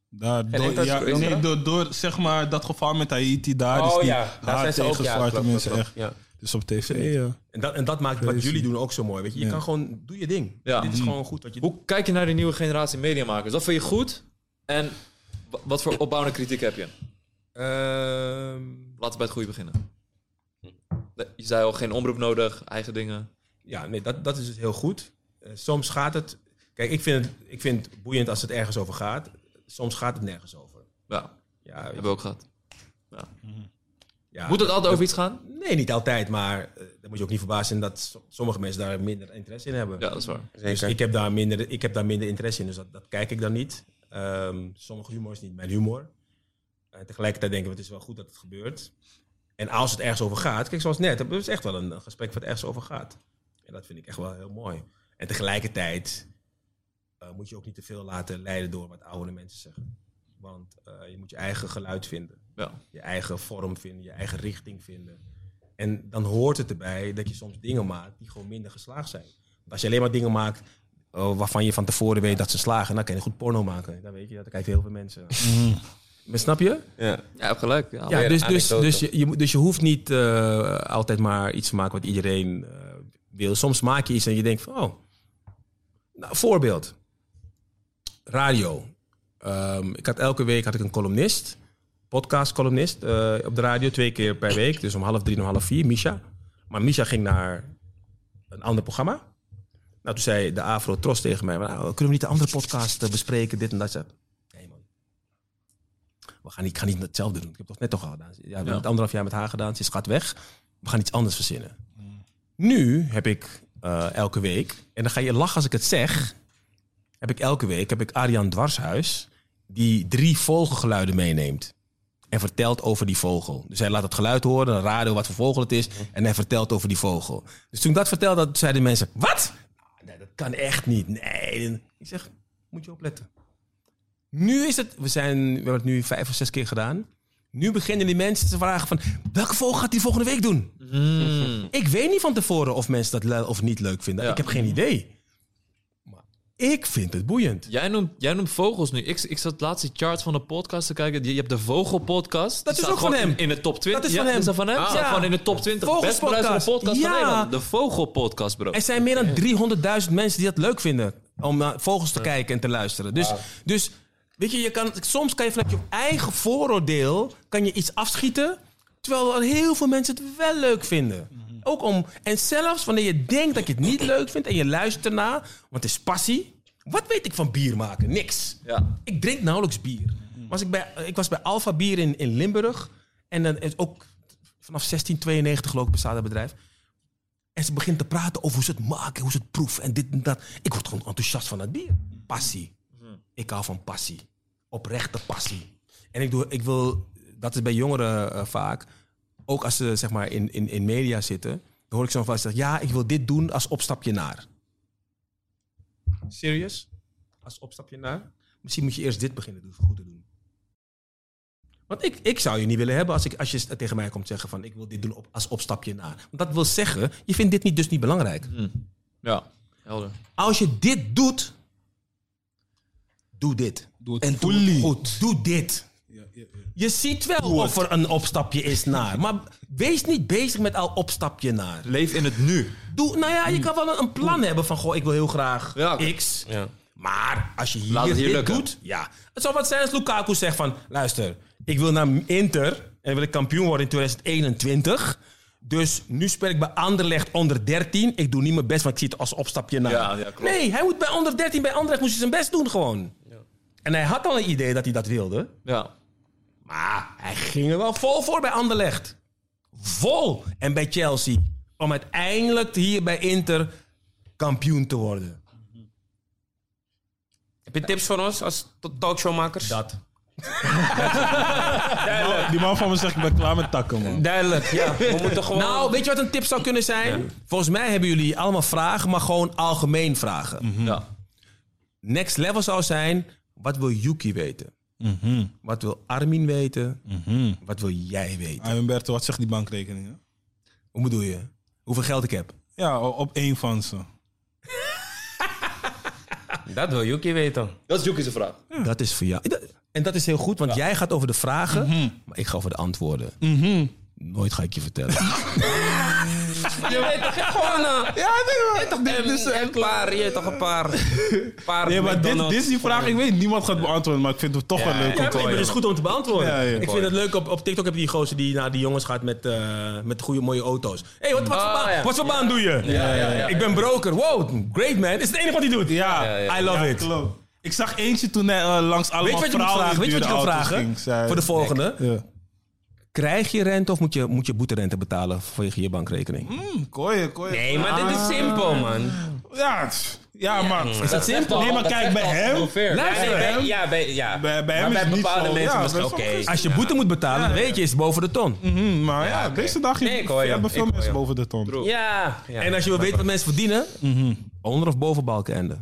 S4: Daar, door,
S1: enkel-
S4: ja,
S1: enkel-
S4: nee, door, door zeg maar dat geval met Haiti, daar
S1: Oh,
S4: is die
S1: ja. Daar
S4: haat
S1: zijn ze
S4: tegen
S1: ook, ja,
S4: zwarte
S1: klopt,
S4: mensen
S1: klopt,
S4: echt.
S1: klopt,
S4: Dus op tv, ja.
S3: En dat, en dat maakt wat
S4: Crazy.
S3: jullie doen ook zo mooi. Weet je. je
S4: Ja.
S3: kan gewoon, doe je ding.
S2: Ja.
S3: Dit is
S1: Mm.
S3: gewoon goed wat je doet.
S2: Hoe kijk je naar die nieuwe generatie mediamakers? Wat vind je goed? En wa- wat voor opbouwende kritiek heb je?
S3: Ehm,
S2: Laten we bij het goede beginnen. Nee, Je zei al, geen omroep nodig, eigen dingen.
S3: ja, nee, dat, dat is het heel goed. Eh, soms gaat het... Kijk, ik vind het, ik vind het boeiend als het ergens over gaat. Soms gaat het nergens over.
S2: Ja,
S3: Ja,
S2: hebben we ook gehad.
S3: ja,
S2: Moet het altijd over iets gaan?
S3: Nee, niet altijd, maar eh, daar moet je ook niet verbaasd zijn dat so- sommige mensen daar minder interesse in hebben.
S2: Ja, dat is waar.
S3: dus ik heb, daar minder, ik heb daar minder interesse in, dus dat, dat kijk ik dan niet. Ehm, sommige humor is niet mijn humor. En tegelijkertijd denken we, het is wel goed dat het gebeurt. En als het ergens over gaat, kijk, zoals net, het is echt wel een, een gesprek wat ergens over gaat. En dat vind ik echt wel heel mooi. En tegelijkertijd eh, moet je ook niet te veel laten leiden door wat oudere mensen zeggen. Want eh, je moet je eigen geluid vinden
S2: Ja.
S3: je eigen vorm vinden, je eigen richting vinden. En dan hoort het erbij dat je soms dingen maakt die gewoon minder geslaagd zijn. Want als je alleen maar dingen maakt eh, waarvan je van tevoren weet dat ze slagen, dan kan je goed porno maken. Dan weet je dat, dan kijken heel veel mensen. Maar snap je?
S2: Ja, heb gelijk. Ja,
S3: Ja, dus, dus,
S1: anekdote.
S3: dus, je, je moet- dus je hoeft niet eh, altijd maar iets te maken wat iedereen eh, wil. Soms maak je iets en je denkt van, oh, nou, voorbeeld. Radio. Ehm, ik had elke week had ik een columnist, podcastcolumnist, eh, op de radio twee keer per week. Dus om half drie en om half vier, Misha. Maar Misha ging naar een ander programma. Nou, toen zei de Afro Tros tegen mij, nou, kunnen we niet de andere podcast eh, bespreken, dit en dat. Ik zei, Nee man, we gaan niet, ik ga niet hetzelfde doen. Ik heb het toch net toch al gedaan. Ja, we hebben het anderhalf jaar met haar gedaan, ze is gaat weg. we gaan iets anders verzinnen. Nu heb ik eh, elke week, en dan ga je lachen als ik het zeg, heb ik elke week heb ik Arjan Dwarshuis, die drie vogelgeluiden meeneemt. En vertelt over die vogel. Dus hij laat het geluid horen, een radio, wat voor vogel het is. En hij vertelt over die vogel. Dus toen ik dat vertelde, zeiden mensen, wat? Nou, Nee, dat kan echt niet. Nee. Ik zeg, moet je opletten. Nu is het, we, zijn, we hebben het nu vijf of zes keer gedaan. Nu beginnen die mensen te vragen van, welke vogel gaat die volgende week doen?
S2: Mm.
S3: Ik weet niet van tevoren of mensen dat le- of niet leuk vinden.
S2: Ja.
S3: Ik heb geen idee. Maar ik vind het boeiend.
S2: Jij noemt, jij noemt vogels nu. Ik, ik zat laatst die chart van de podcast te kijken. Je, je hebt de vogelpodcast.
S3: Dat
S2: Die
S3: is
S2: staat
S3: ook van
S2: gewoon
S3: hem.
S2: In, in de top 20.
S3: Dat is
S2: Ja,
S3: van hem.
S2: Is dat van hem?
S3: Ah.
S2: Staat
S3: Ja.
S2: gewoon in de top 20. Best beluisterde
S3: Vogelspodcast.
S2: podcast van
S3: Ja.
S2: Nederland. De vogelpodcast, bro.
S3: Er zijn meer dan 300.000 mensen die dat leuk vinden. Om naar vogels te kijken en te luisteren. Dus, dus weet je, je kan, soms kan je vanuit je eigen vooroordeel kan je iets afschieten. Terwijl er heel veel mensen het wel leuk vinden.
S2: Mhm.
S3: Ook om, en zelfs wanneer je denkt dat je het niet leuk vindt en je luistert ernaar, want het is passie. Wat weet ik van bier maken? Niks.
S2: Ja. Mhm.
S3: Ik drink nauwelijks bier. Was ik, bij, ik was bij Alfa Bier in, in Limburg. En dan is ook vanaf 1692 geloof ik bestaat dat bedrijf. En ze begint te praten over hoe ze het maken, hoe ze het proeven en dit en dat. Ik word gewoon enthousiast van dat bier. Passie. Ik hou van passie. Oprechte passie. En ik, doe, ik wil, dat is bij jongeren eh, vaak, ook als ze zeg maar in, in, in media zitten, dan hoor ik zo'n vast zeggen, ja, ik wil dit doen als opstapje naar. Serieus? Als opstapje naar? Misschien moet je eerst dit beginnen doen, goed te doen. Want ik, ik zou je niet willen hebben als, ik, als je tegen mij komt zeggen van ik wil dit doen op, als opstapje naar. Want dat wil zeggen, je vindt dit niet, dus niet belangrijk.
S2: ja. Helder.
S3: Als je dit doet, doe dit.
S4: Doe het
S3: en doe
S4: fully.
S3: het goed. Doe dit.
S4: Ja, ja, ja.
S3: Je ziet wel of er een opstapje is naar. Maar wees niet bezig met al opstapje naar.
S2: Leef in het nu.
S3: Doe, nou ja, je kan wel een, een plan hebben van goh, ik wil heel graag
S2: Ja, oké.
S3: X. Maar als je hier,
S2: Laat het hier
S3: dit
S2: lukken.
S3: doet, ja. Het zou wat zijn als Lukaku zegt van, luister, ik wil naar Inter en wil ik kampioen worden in 2021. Dus nu speel ik bij Anderlecht onder 13. Ik doe niet mijn best, want ik zie het als opstapje naar.
S2: Ja, ja, klopt.
S3: Nee, hij moet bij onder 13, bij Anderlecht moest hij zijn best doen gewoon. En hij had al een idee dat hij dat wilde.
S2: Ja.
S3: Maar hij ging er wel vol voor bij Anderlecht. Vol. En bij Chelsea. Om uiteindelijk hier bij Inter kampioen te worden.
S1: Heb je tips voor ons als to- talkshowmakers?
S3: Dat.
S4: Oh, Die man van me zegt, ik ben klaar met takken, man.
S1: Duidelijk, ja. We moeten gewoon...
S3: Nou, weet je wat een tip zou kunnen zijn? Volgens mij hebben jullie allemaal vragen, maar gewoon algemeen vragen.
S2: ja.
S3: Next level zou zijn, wat wil Yuki weten? Wat wil Armin weten? Wat wil jij weten?
S4: Ah, Humberto, wat zegt die bankrekening? hè?
S3: Hoe bedoel je? Hoeveel geld ik heb?
S4: Ja, o- op één van ze.
S1: Dat wil Yuki weten.
S2: Dat is Joekie's vraag.
S3: Dat is voor jou. En dat is heel goed, want jij gaat over de vragen, maar ik ga over de antwoorden. Mhm. Nooit ga ik je vertellen.
S1: Je weet toch gewoon... eh,
S4: Ja, nee, maar.
S1: en, en klaar, je weet toch een paar... paar
S4: Nee, maar dit,
S1: McDonald's.
S4: dit is die vraag. Ik weet niemand gaat beantwoorden, maar ik vind het toch wel leuk. om
S3: Ja,
S4: te-
S3: maar het is goed om te beantwoorden.
S4: Ja, ja.
S3: ik vind het leuk, op, op TikTok heb je die gozer die naar die jongens gaat met, eh, met goede mooie auto's. Hé, hey, wat, wat, voor
S2: Ah,
S3: baan,
S2: ja.
S3: wat voor baan doe je? Eh, Ik ben broker. Wow, great man. Is het enige wat hij doet?
S4: Ja,
S3: I love
S4: Ja,
S3: it.
S4: klopt. Ik zag eentje toen hij eh, langs
S3: Weet
S4: allemaal
S3: je wat je moet
S4: vrouwen
S3: vragen? Weet je wat je kan
S4: duurde auto's
S3: vragen?
S4: ging, zei-
S3: Voor de volgende.
S4: Ja.
S3: Krijg je rente of moet je, moet je boeterente betalen vanwege je bankrekening?
S4: Hm, kooien, kooien.
S1: Nee, maar dit is simpel, man.
S4: Ja, tss, ja, man.
S3: Is dat simpel?
S4: Nee, maar kijk, bij hem...
S1: Ja,
S3: Luister,
S1: bij, ja, bij, ja.
S4: Bij- bij
S1: Maar
S4: hem is het niet
S1: bepaalde
S4: zo.
S1: mensen
S4: Ja,
S1: misschien,
S4: bij
S1: oké.
S4: sommigen is
S3: als je boete moet betalen, dan weet je, is het boven de ton.
S4: Mhm, maar ja,
S1: oké.
S4: deze dag
S1: Nee, ik hoor je.
S4: hebben veel
S1: Ik hoor
S4: mensen
S1: je.
S4: boven de ton.
S1: Ja. ja.
S3: En als je wil weten wat mensen verdienen, onder of boven balkenende?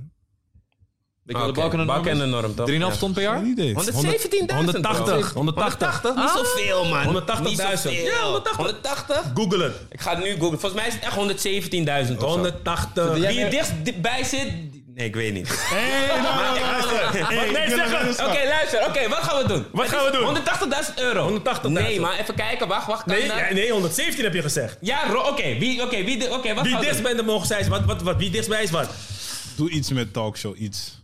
S2: Ik wil de balken en de
S1: Balken en de norm, toch?
S2: 3,5 ton per jaar?
S4: Geen idee.
S1: 117.000
S3: 180. 180.
S1: Niet zoveel, man.
S3: 180.000.
S1: Niet zoveel.
S3: Ja, 180.
S1: 180?
S3: Google het.
S1: Ik ga het nu googlen. Volgens mij is het echt 117.000 of zo.
S3: 180.
S1: Wie er dichtbij zit... Nee, ik weet niet.
S4: Hey, nou, nou, nou, nou. Hey,
S1: Nee,
S4: ik wil
S1: zeg
S4: er
S1: het.
S4: eens
S1: Oké,
S4: van.
S1: luister. Oké, wat gaan we doen? Wat
S3: gaan we doen?
S1: 180.000 euro.
S3: 180.000.
S1: Nee, maar even kijken. Wacht, wacht. Kan
S3: Nee,
S1: dat?
S3: ja, nee, 117 heb je gezegd.
S1: Ja, ro- oké. Wie, oké, wie, de- oké, wat
S3: Wie
S1: gaan we doen?
S3: dichtstbij de mogen zijn, is wat, wat, wat, wie dichtstbij is wat.
S4: Doe iets met talkshow, iets.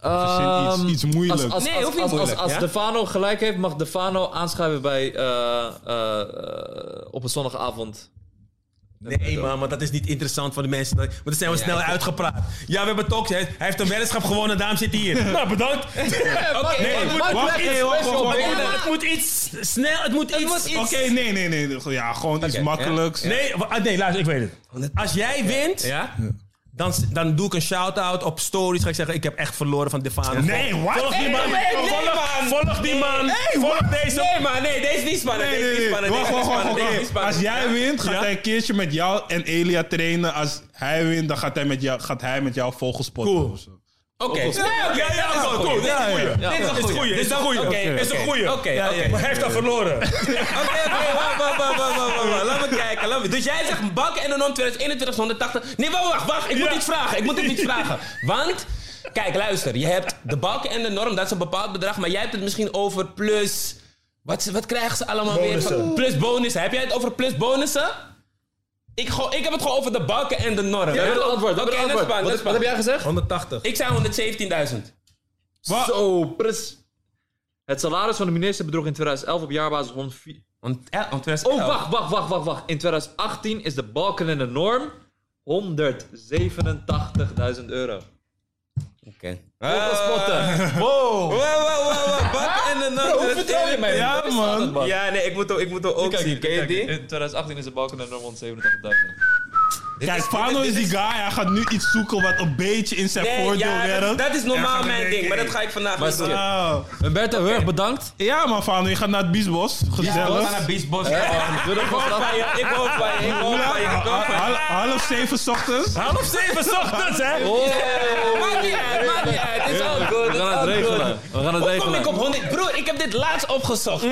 S4: Verzin
S3: Ehm,
S4: iets, iets
S2: Ehm, Als,
S4: moeilijks.
S2: als,
S1: Nee,
S2: als,
S1: hoeft niet
S2: als, als,
S1: moeilijk,
S2: als
S1: ja?
S2: Stefano gelijk heeft, mag Stefano aanschuiven bij eh, eh, eh, op een zondagavond
S3: Nee, man, want dat is niet interessant voor de mensen. Want dan zijn we snel uitgepraat. Ja, we hebben talks. Hij hij heeft een weddenschap gewonnen, daarom zit hij hier. nou, bedankt. nee,
S2: Mark-
S3: het moet-
S2: Mark
S4: wacht,
S2: Black
S4: nee,
S2: is
S4: wacht,
S2: special,
S4: wacht,
S2: baby.
S4: wacht.
S3: het moet iets snel, het moet iets...
S4: Oké, nee, nee, nee. nee. Ja, gewoon iets makkelijks.
S3: Nee, wa- ah, nee, luister, ik weet het. Als jij wint,
S1: Ja?
S3: dan, s- dan doe ik een shout-out op stories. Ga ik zeggen, ik heb echt verloren van Defano.
S4: Nee, wat?
S3: Volg die man.
S1: nee, nee,
S3: volg, volg die man. volg deze.
S1: Nee, maar nee, deze is niet spannend.
S4: Nee,
S1: deze
S4: nee,
S1: is
S4: nee.
S1: niet spannend. deze
S4: Wacht, wacht,
S1: is
S4: wacht,
S1: spannend,
S4: wacht.
S1: deze is spannend.
S4: Als jij wint, gaat hij een keertje met jou en Elia trainen. Als hij wint, dan gaat hij met jou, gaat hij met jou vogelspotten.
S3: Cool.
S4: of zo.
S1: Oké.
S3: Ja, ja, ja, goed, goed. Dit is een goeie.
S1: Ja,
S3: Dit is een goeie. Dit is een goeie.
S1: Oké,
S3: Dit is een
S1: oké,
S3: goeie.
S1: Oké, oké.
S3: Maar hij heeft dat verloren.
S1: Oké, oké, wacht, wacht, wacht, wacht, wacht, wacht, wacht. Laat me kijken, laat me. Dus jij zegt bakken en dan om 2021, 180. Nee, wacht, wacht, wacht. Ik moet iets vragen, ik moet hem iets vragen. Want, kijk, luister. Je hebt de balken en de norm, dat is een bepaald bedrag. Maar jij hebt het misschien over plus... Wat, wat krijgen ze allemaal weer? Van, plus bonussen. Heb jij het over plus bonussen? Ik, go- ik heb het gewoon over de balken en de norm.
S2: Jij hebt het antwoord. Wat
S1: Oké,
S2: heb je
S1: dat is
S2: antwoord?
S1: spannend, dat
S2: Wat
S1: is
S2: wat heb
S1: spannend.
S2: jij gezegd?
S3: 180.
S1: Ik zei 117.000.
S4: Wat?
S2: Zo, pres. Het salaris van de minister bedroeg in 2011 op jaarbasis 104...
S1: Want, eh, want
S2: Oh, wacht, wacht, wacht, wacht, wacht. In 2018 is de balken en de norm 187.000 euro.
S1: Oké. oh.
S2: Vogelspotten.
S1: Wow, wow, wow, wow. Bak en een ander.
S2: hoe vertrouw je mij?
S1: Ja,
S4: Ja, man.
S2: man?
S1: Ja, nee, ik moet, hem- ik moet hem ook zien. Ken je
S2: Kijk,
S1: die?
S2: in 2018 is de balken en de norm 187.000.
S4: Kijk, Fano is die guy. Hij gaat nu iets zoeken wat een beetje in zijn
S1: Nee,
S4: voordeel
S1: ja, dat,
S4: werkt.
S1: dat is
S4: En
S1: normaal
S4: gaat
S1: mijn
S4: denken,
S1: ding, maar dat
S4: hey,
S1: ga ik vandaag
S2: Maar
S1: niet doen.
S2: zie je.
S4: wauw.
S2: Humberto, heel erg bedankt.
S4: Oh. Ja, man, Fano, je gaat naar het biesbos. Gezellig.
S1: Biesbos.
S2: Doe dat
S1: Ik hoop
S2: vast.
S1: van je, ik hoop van je, ik hoop van je, ik hoop
S4: Half-
S1: van je.
S4: half- Half zeven 's ochtends.
S3: Half zeven 's ochtends, hè?
S1: Yeah, Maakt niet uit, maakt niet uit. Het is al goed, het
S2: We
S1: is
S2: gaan het
S1: al
S2: regelen.
S1: goed.
S2: We gaan het
S1: Hoe kom
S2: regelen.
S1: ik op 100? Broer, ik heb dit laatst opgezocht.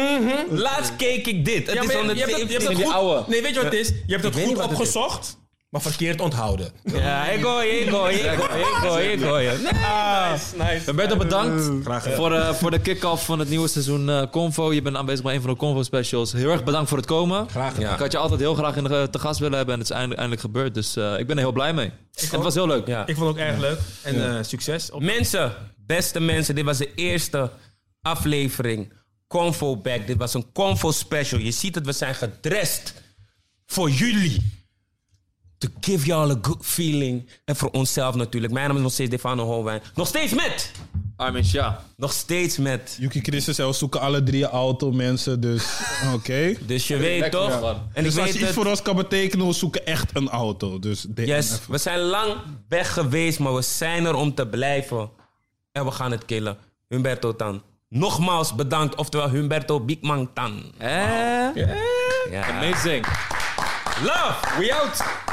S1: Laatst keek ik dit. Het
S2: Ja,
S1: is
S2: maar je- je hebt dat- je hebt dat
S1: 117.
S2: goed- Die ouwe.
S3: Nee, weet je wat het is? Je hebt het
S1: weet niet
S3: goed
S1: wat het is.
S3: opgezocht, maar verkeerd onthouden.
S1: Ja, ik hoor je, ik hoor je, ik hoor je, ik hoor je, ik hoor je. Nee, nice, nice.
S2: Humberto, bedankt.
S3: Ah, Graag gedaan.
S2: Voor, eh, voor de kick-off van het nieuwe seizoen eh, Convo. Je bent aanwezig bij een van de Convo specials. Heel erg bedankt voor het komen.
S3: Graag gedaan.
S2: Ik had je altijd heel graag in de, eh, te gast willen hebben en het is eindelijk, eindelijk gebeurd. Dus eh, ik ben er heel blij mee. het was heel leuk.
S1: Ja.
S3: Ik vond het ook erg leuk. En eh, succes. Op
S1: Mensen, beste mensen, dit was de eerste aflevering. Convo Back. Dit was een Convo Special. Je ziet het, we zijn gedrest voor jullie. To give y'all a good feeling. En voor onszelf natuurlijk. Mijn naam is nog steeds Defano Holwijn. Nog steeds met!
S2: Armin, ja.
S1: Nog steeds met.
S4: Yuki Christus, en we zoeken alle drie een auto, mensen. Dus, oké.
S1: Dus je weet toch? En ik
S4: Dus als
S1: weet
S4: je iets
S1: het.
S4: voor ons kan betekenen, we zoeken echt een auto. Dus DM
S1: Yes,
S4: even.
S1: we zijn lang weg geweest, maar we zijn er om te blijven. En we gaan het killen. Humberto Tan. Nogmaals bedankt, oftewel Humberto Bigman Tan.
S2: Eh?
S1: Ja.
S2: Amazing.
S1: Love!
S2: We out.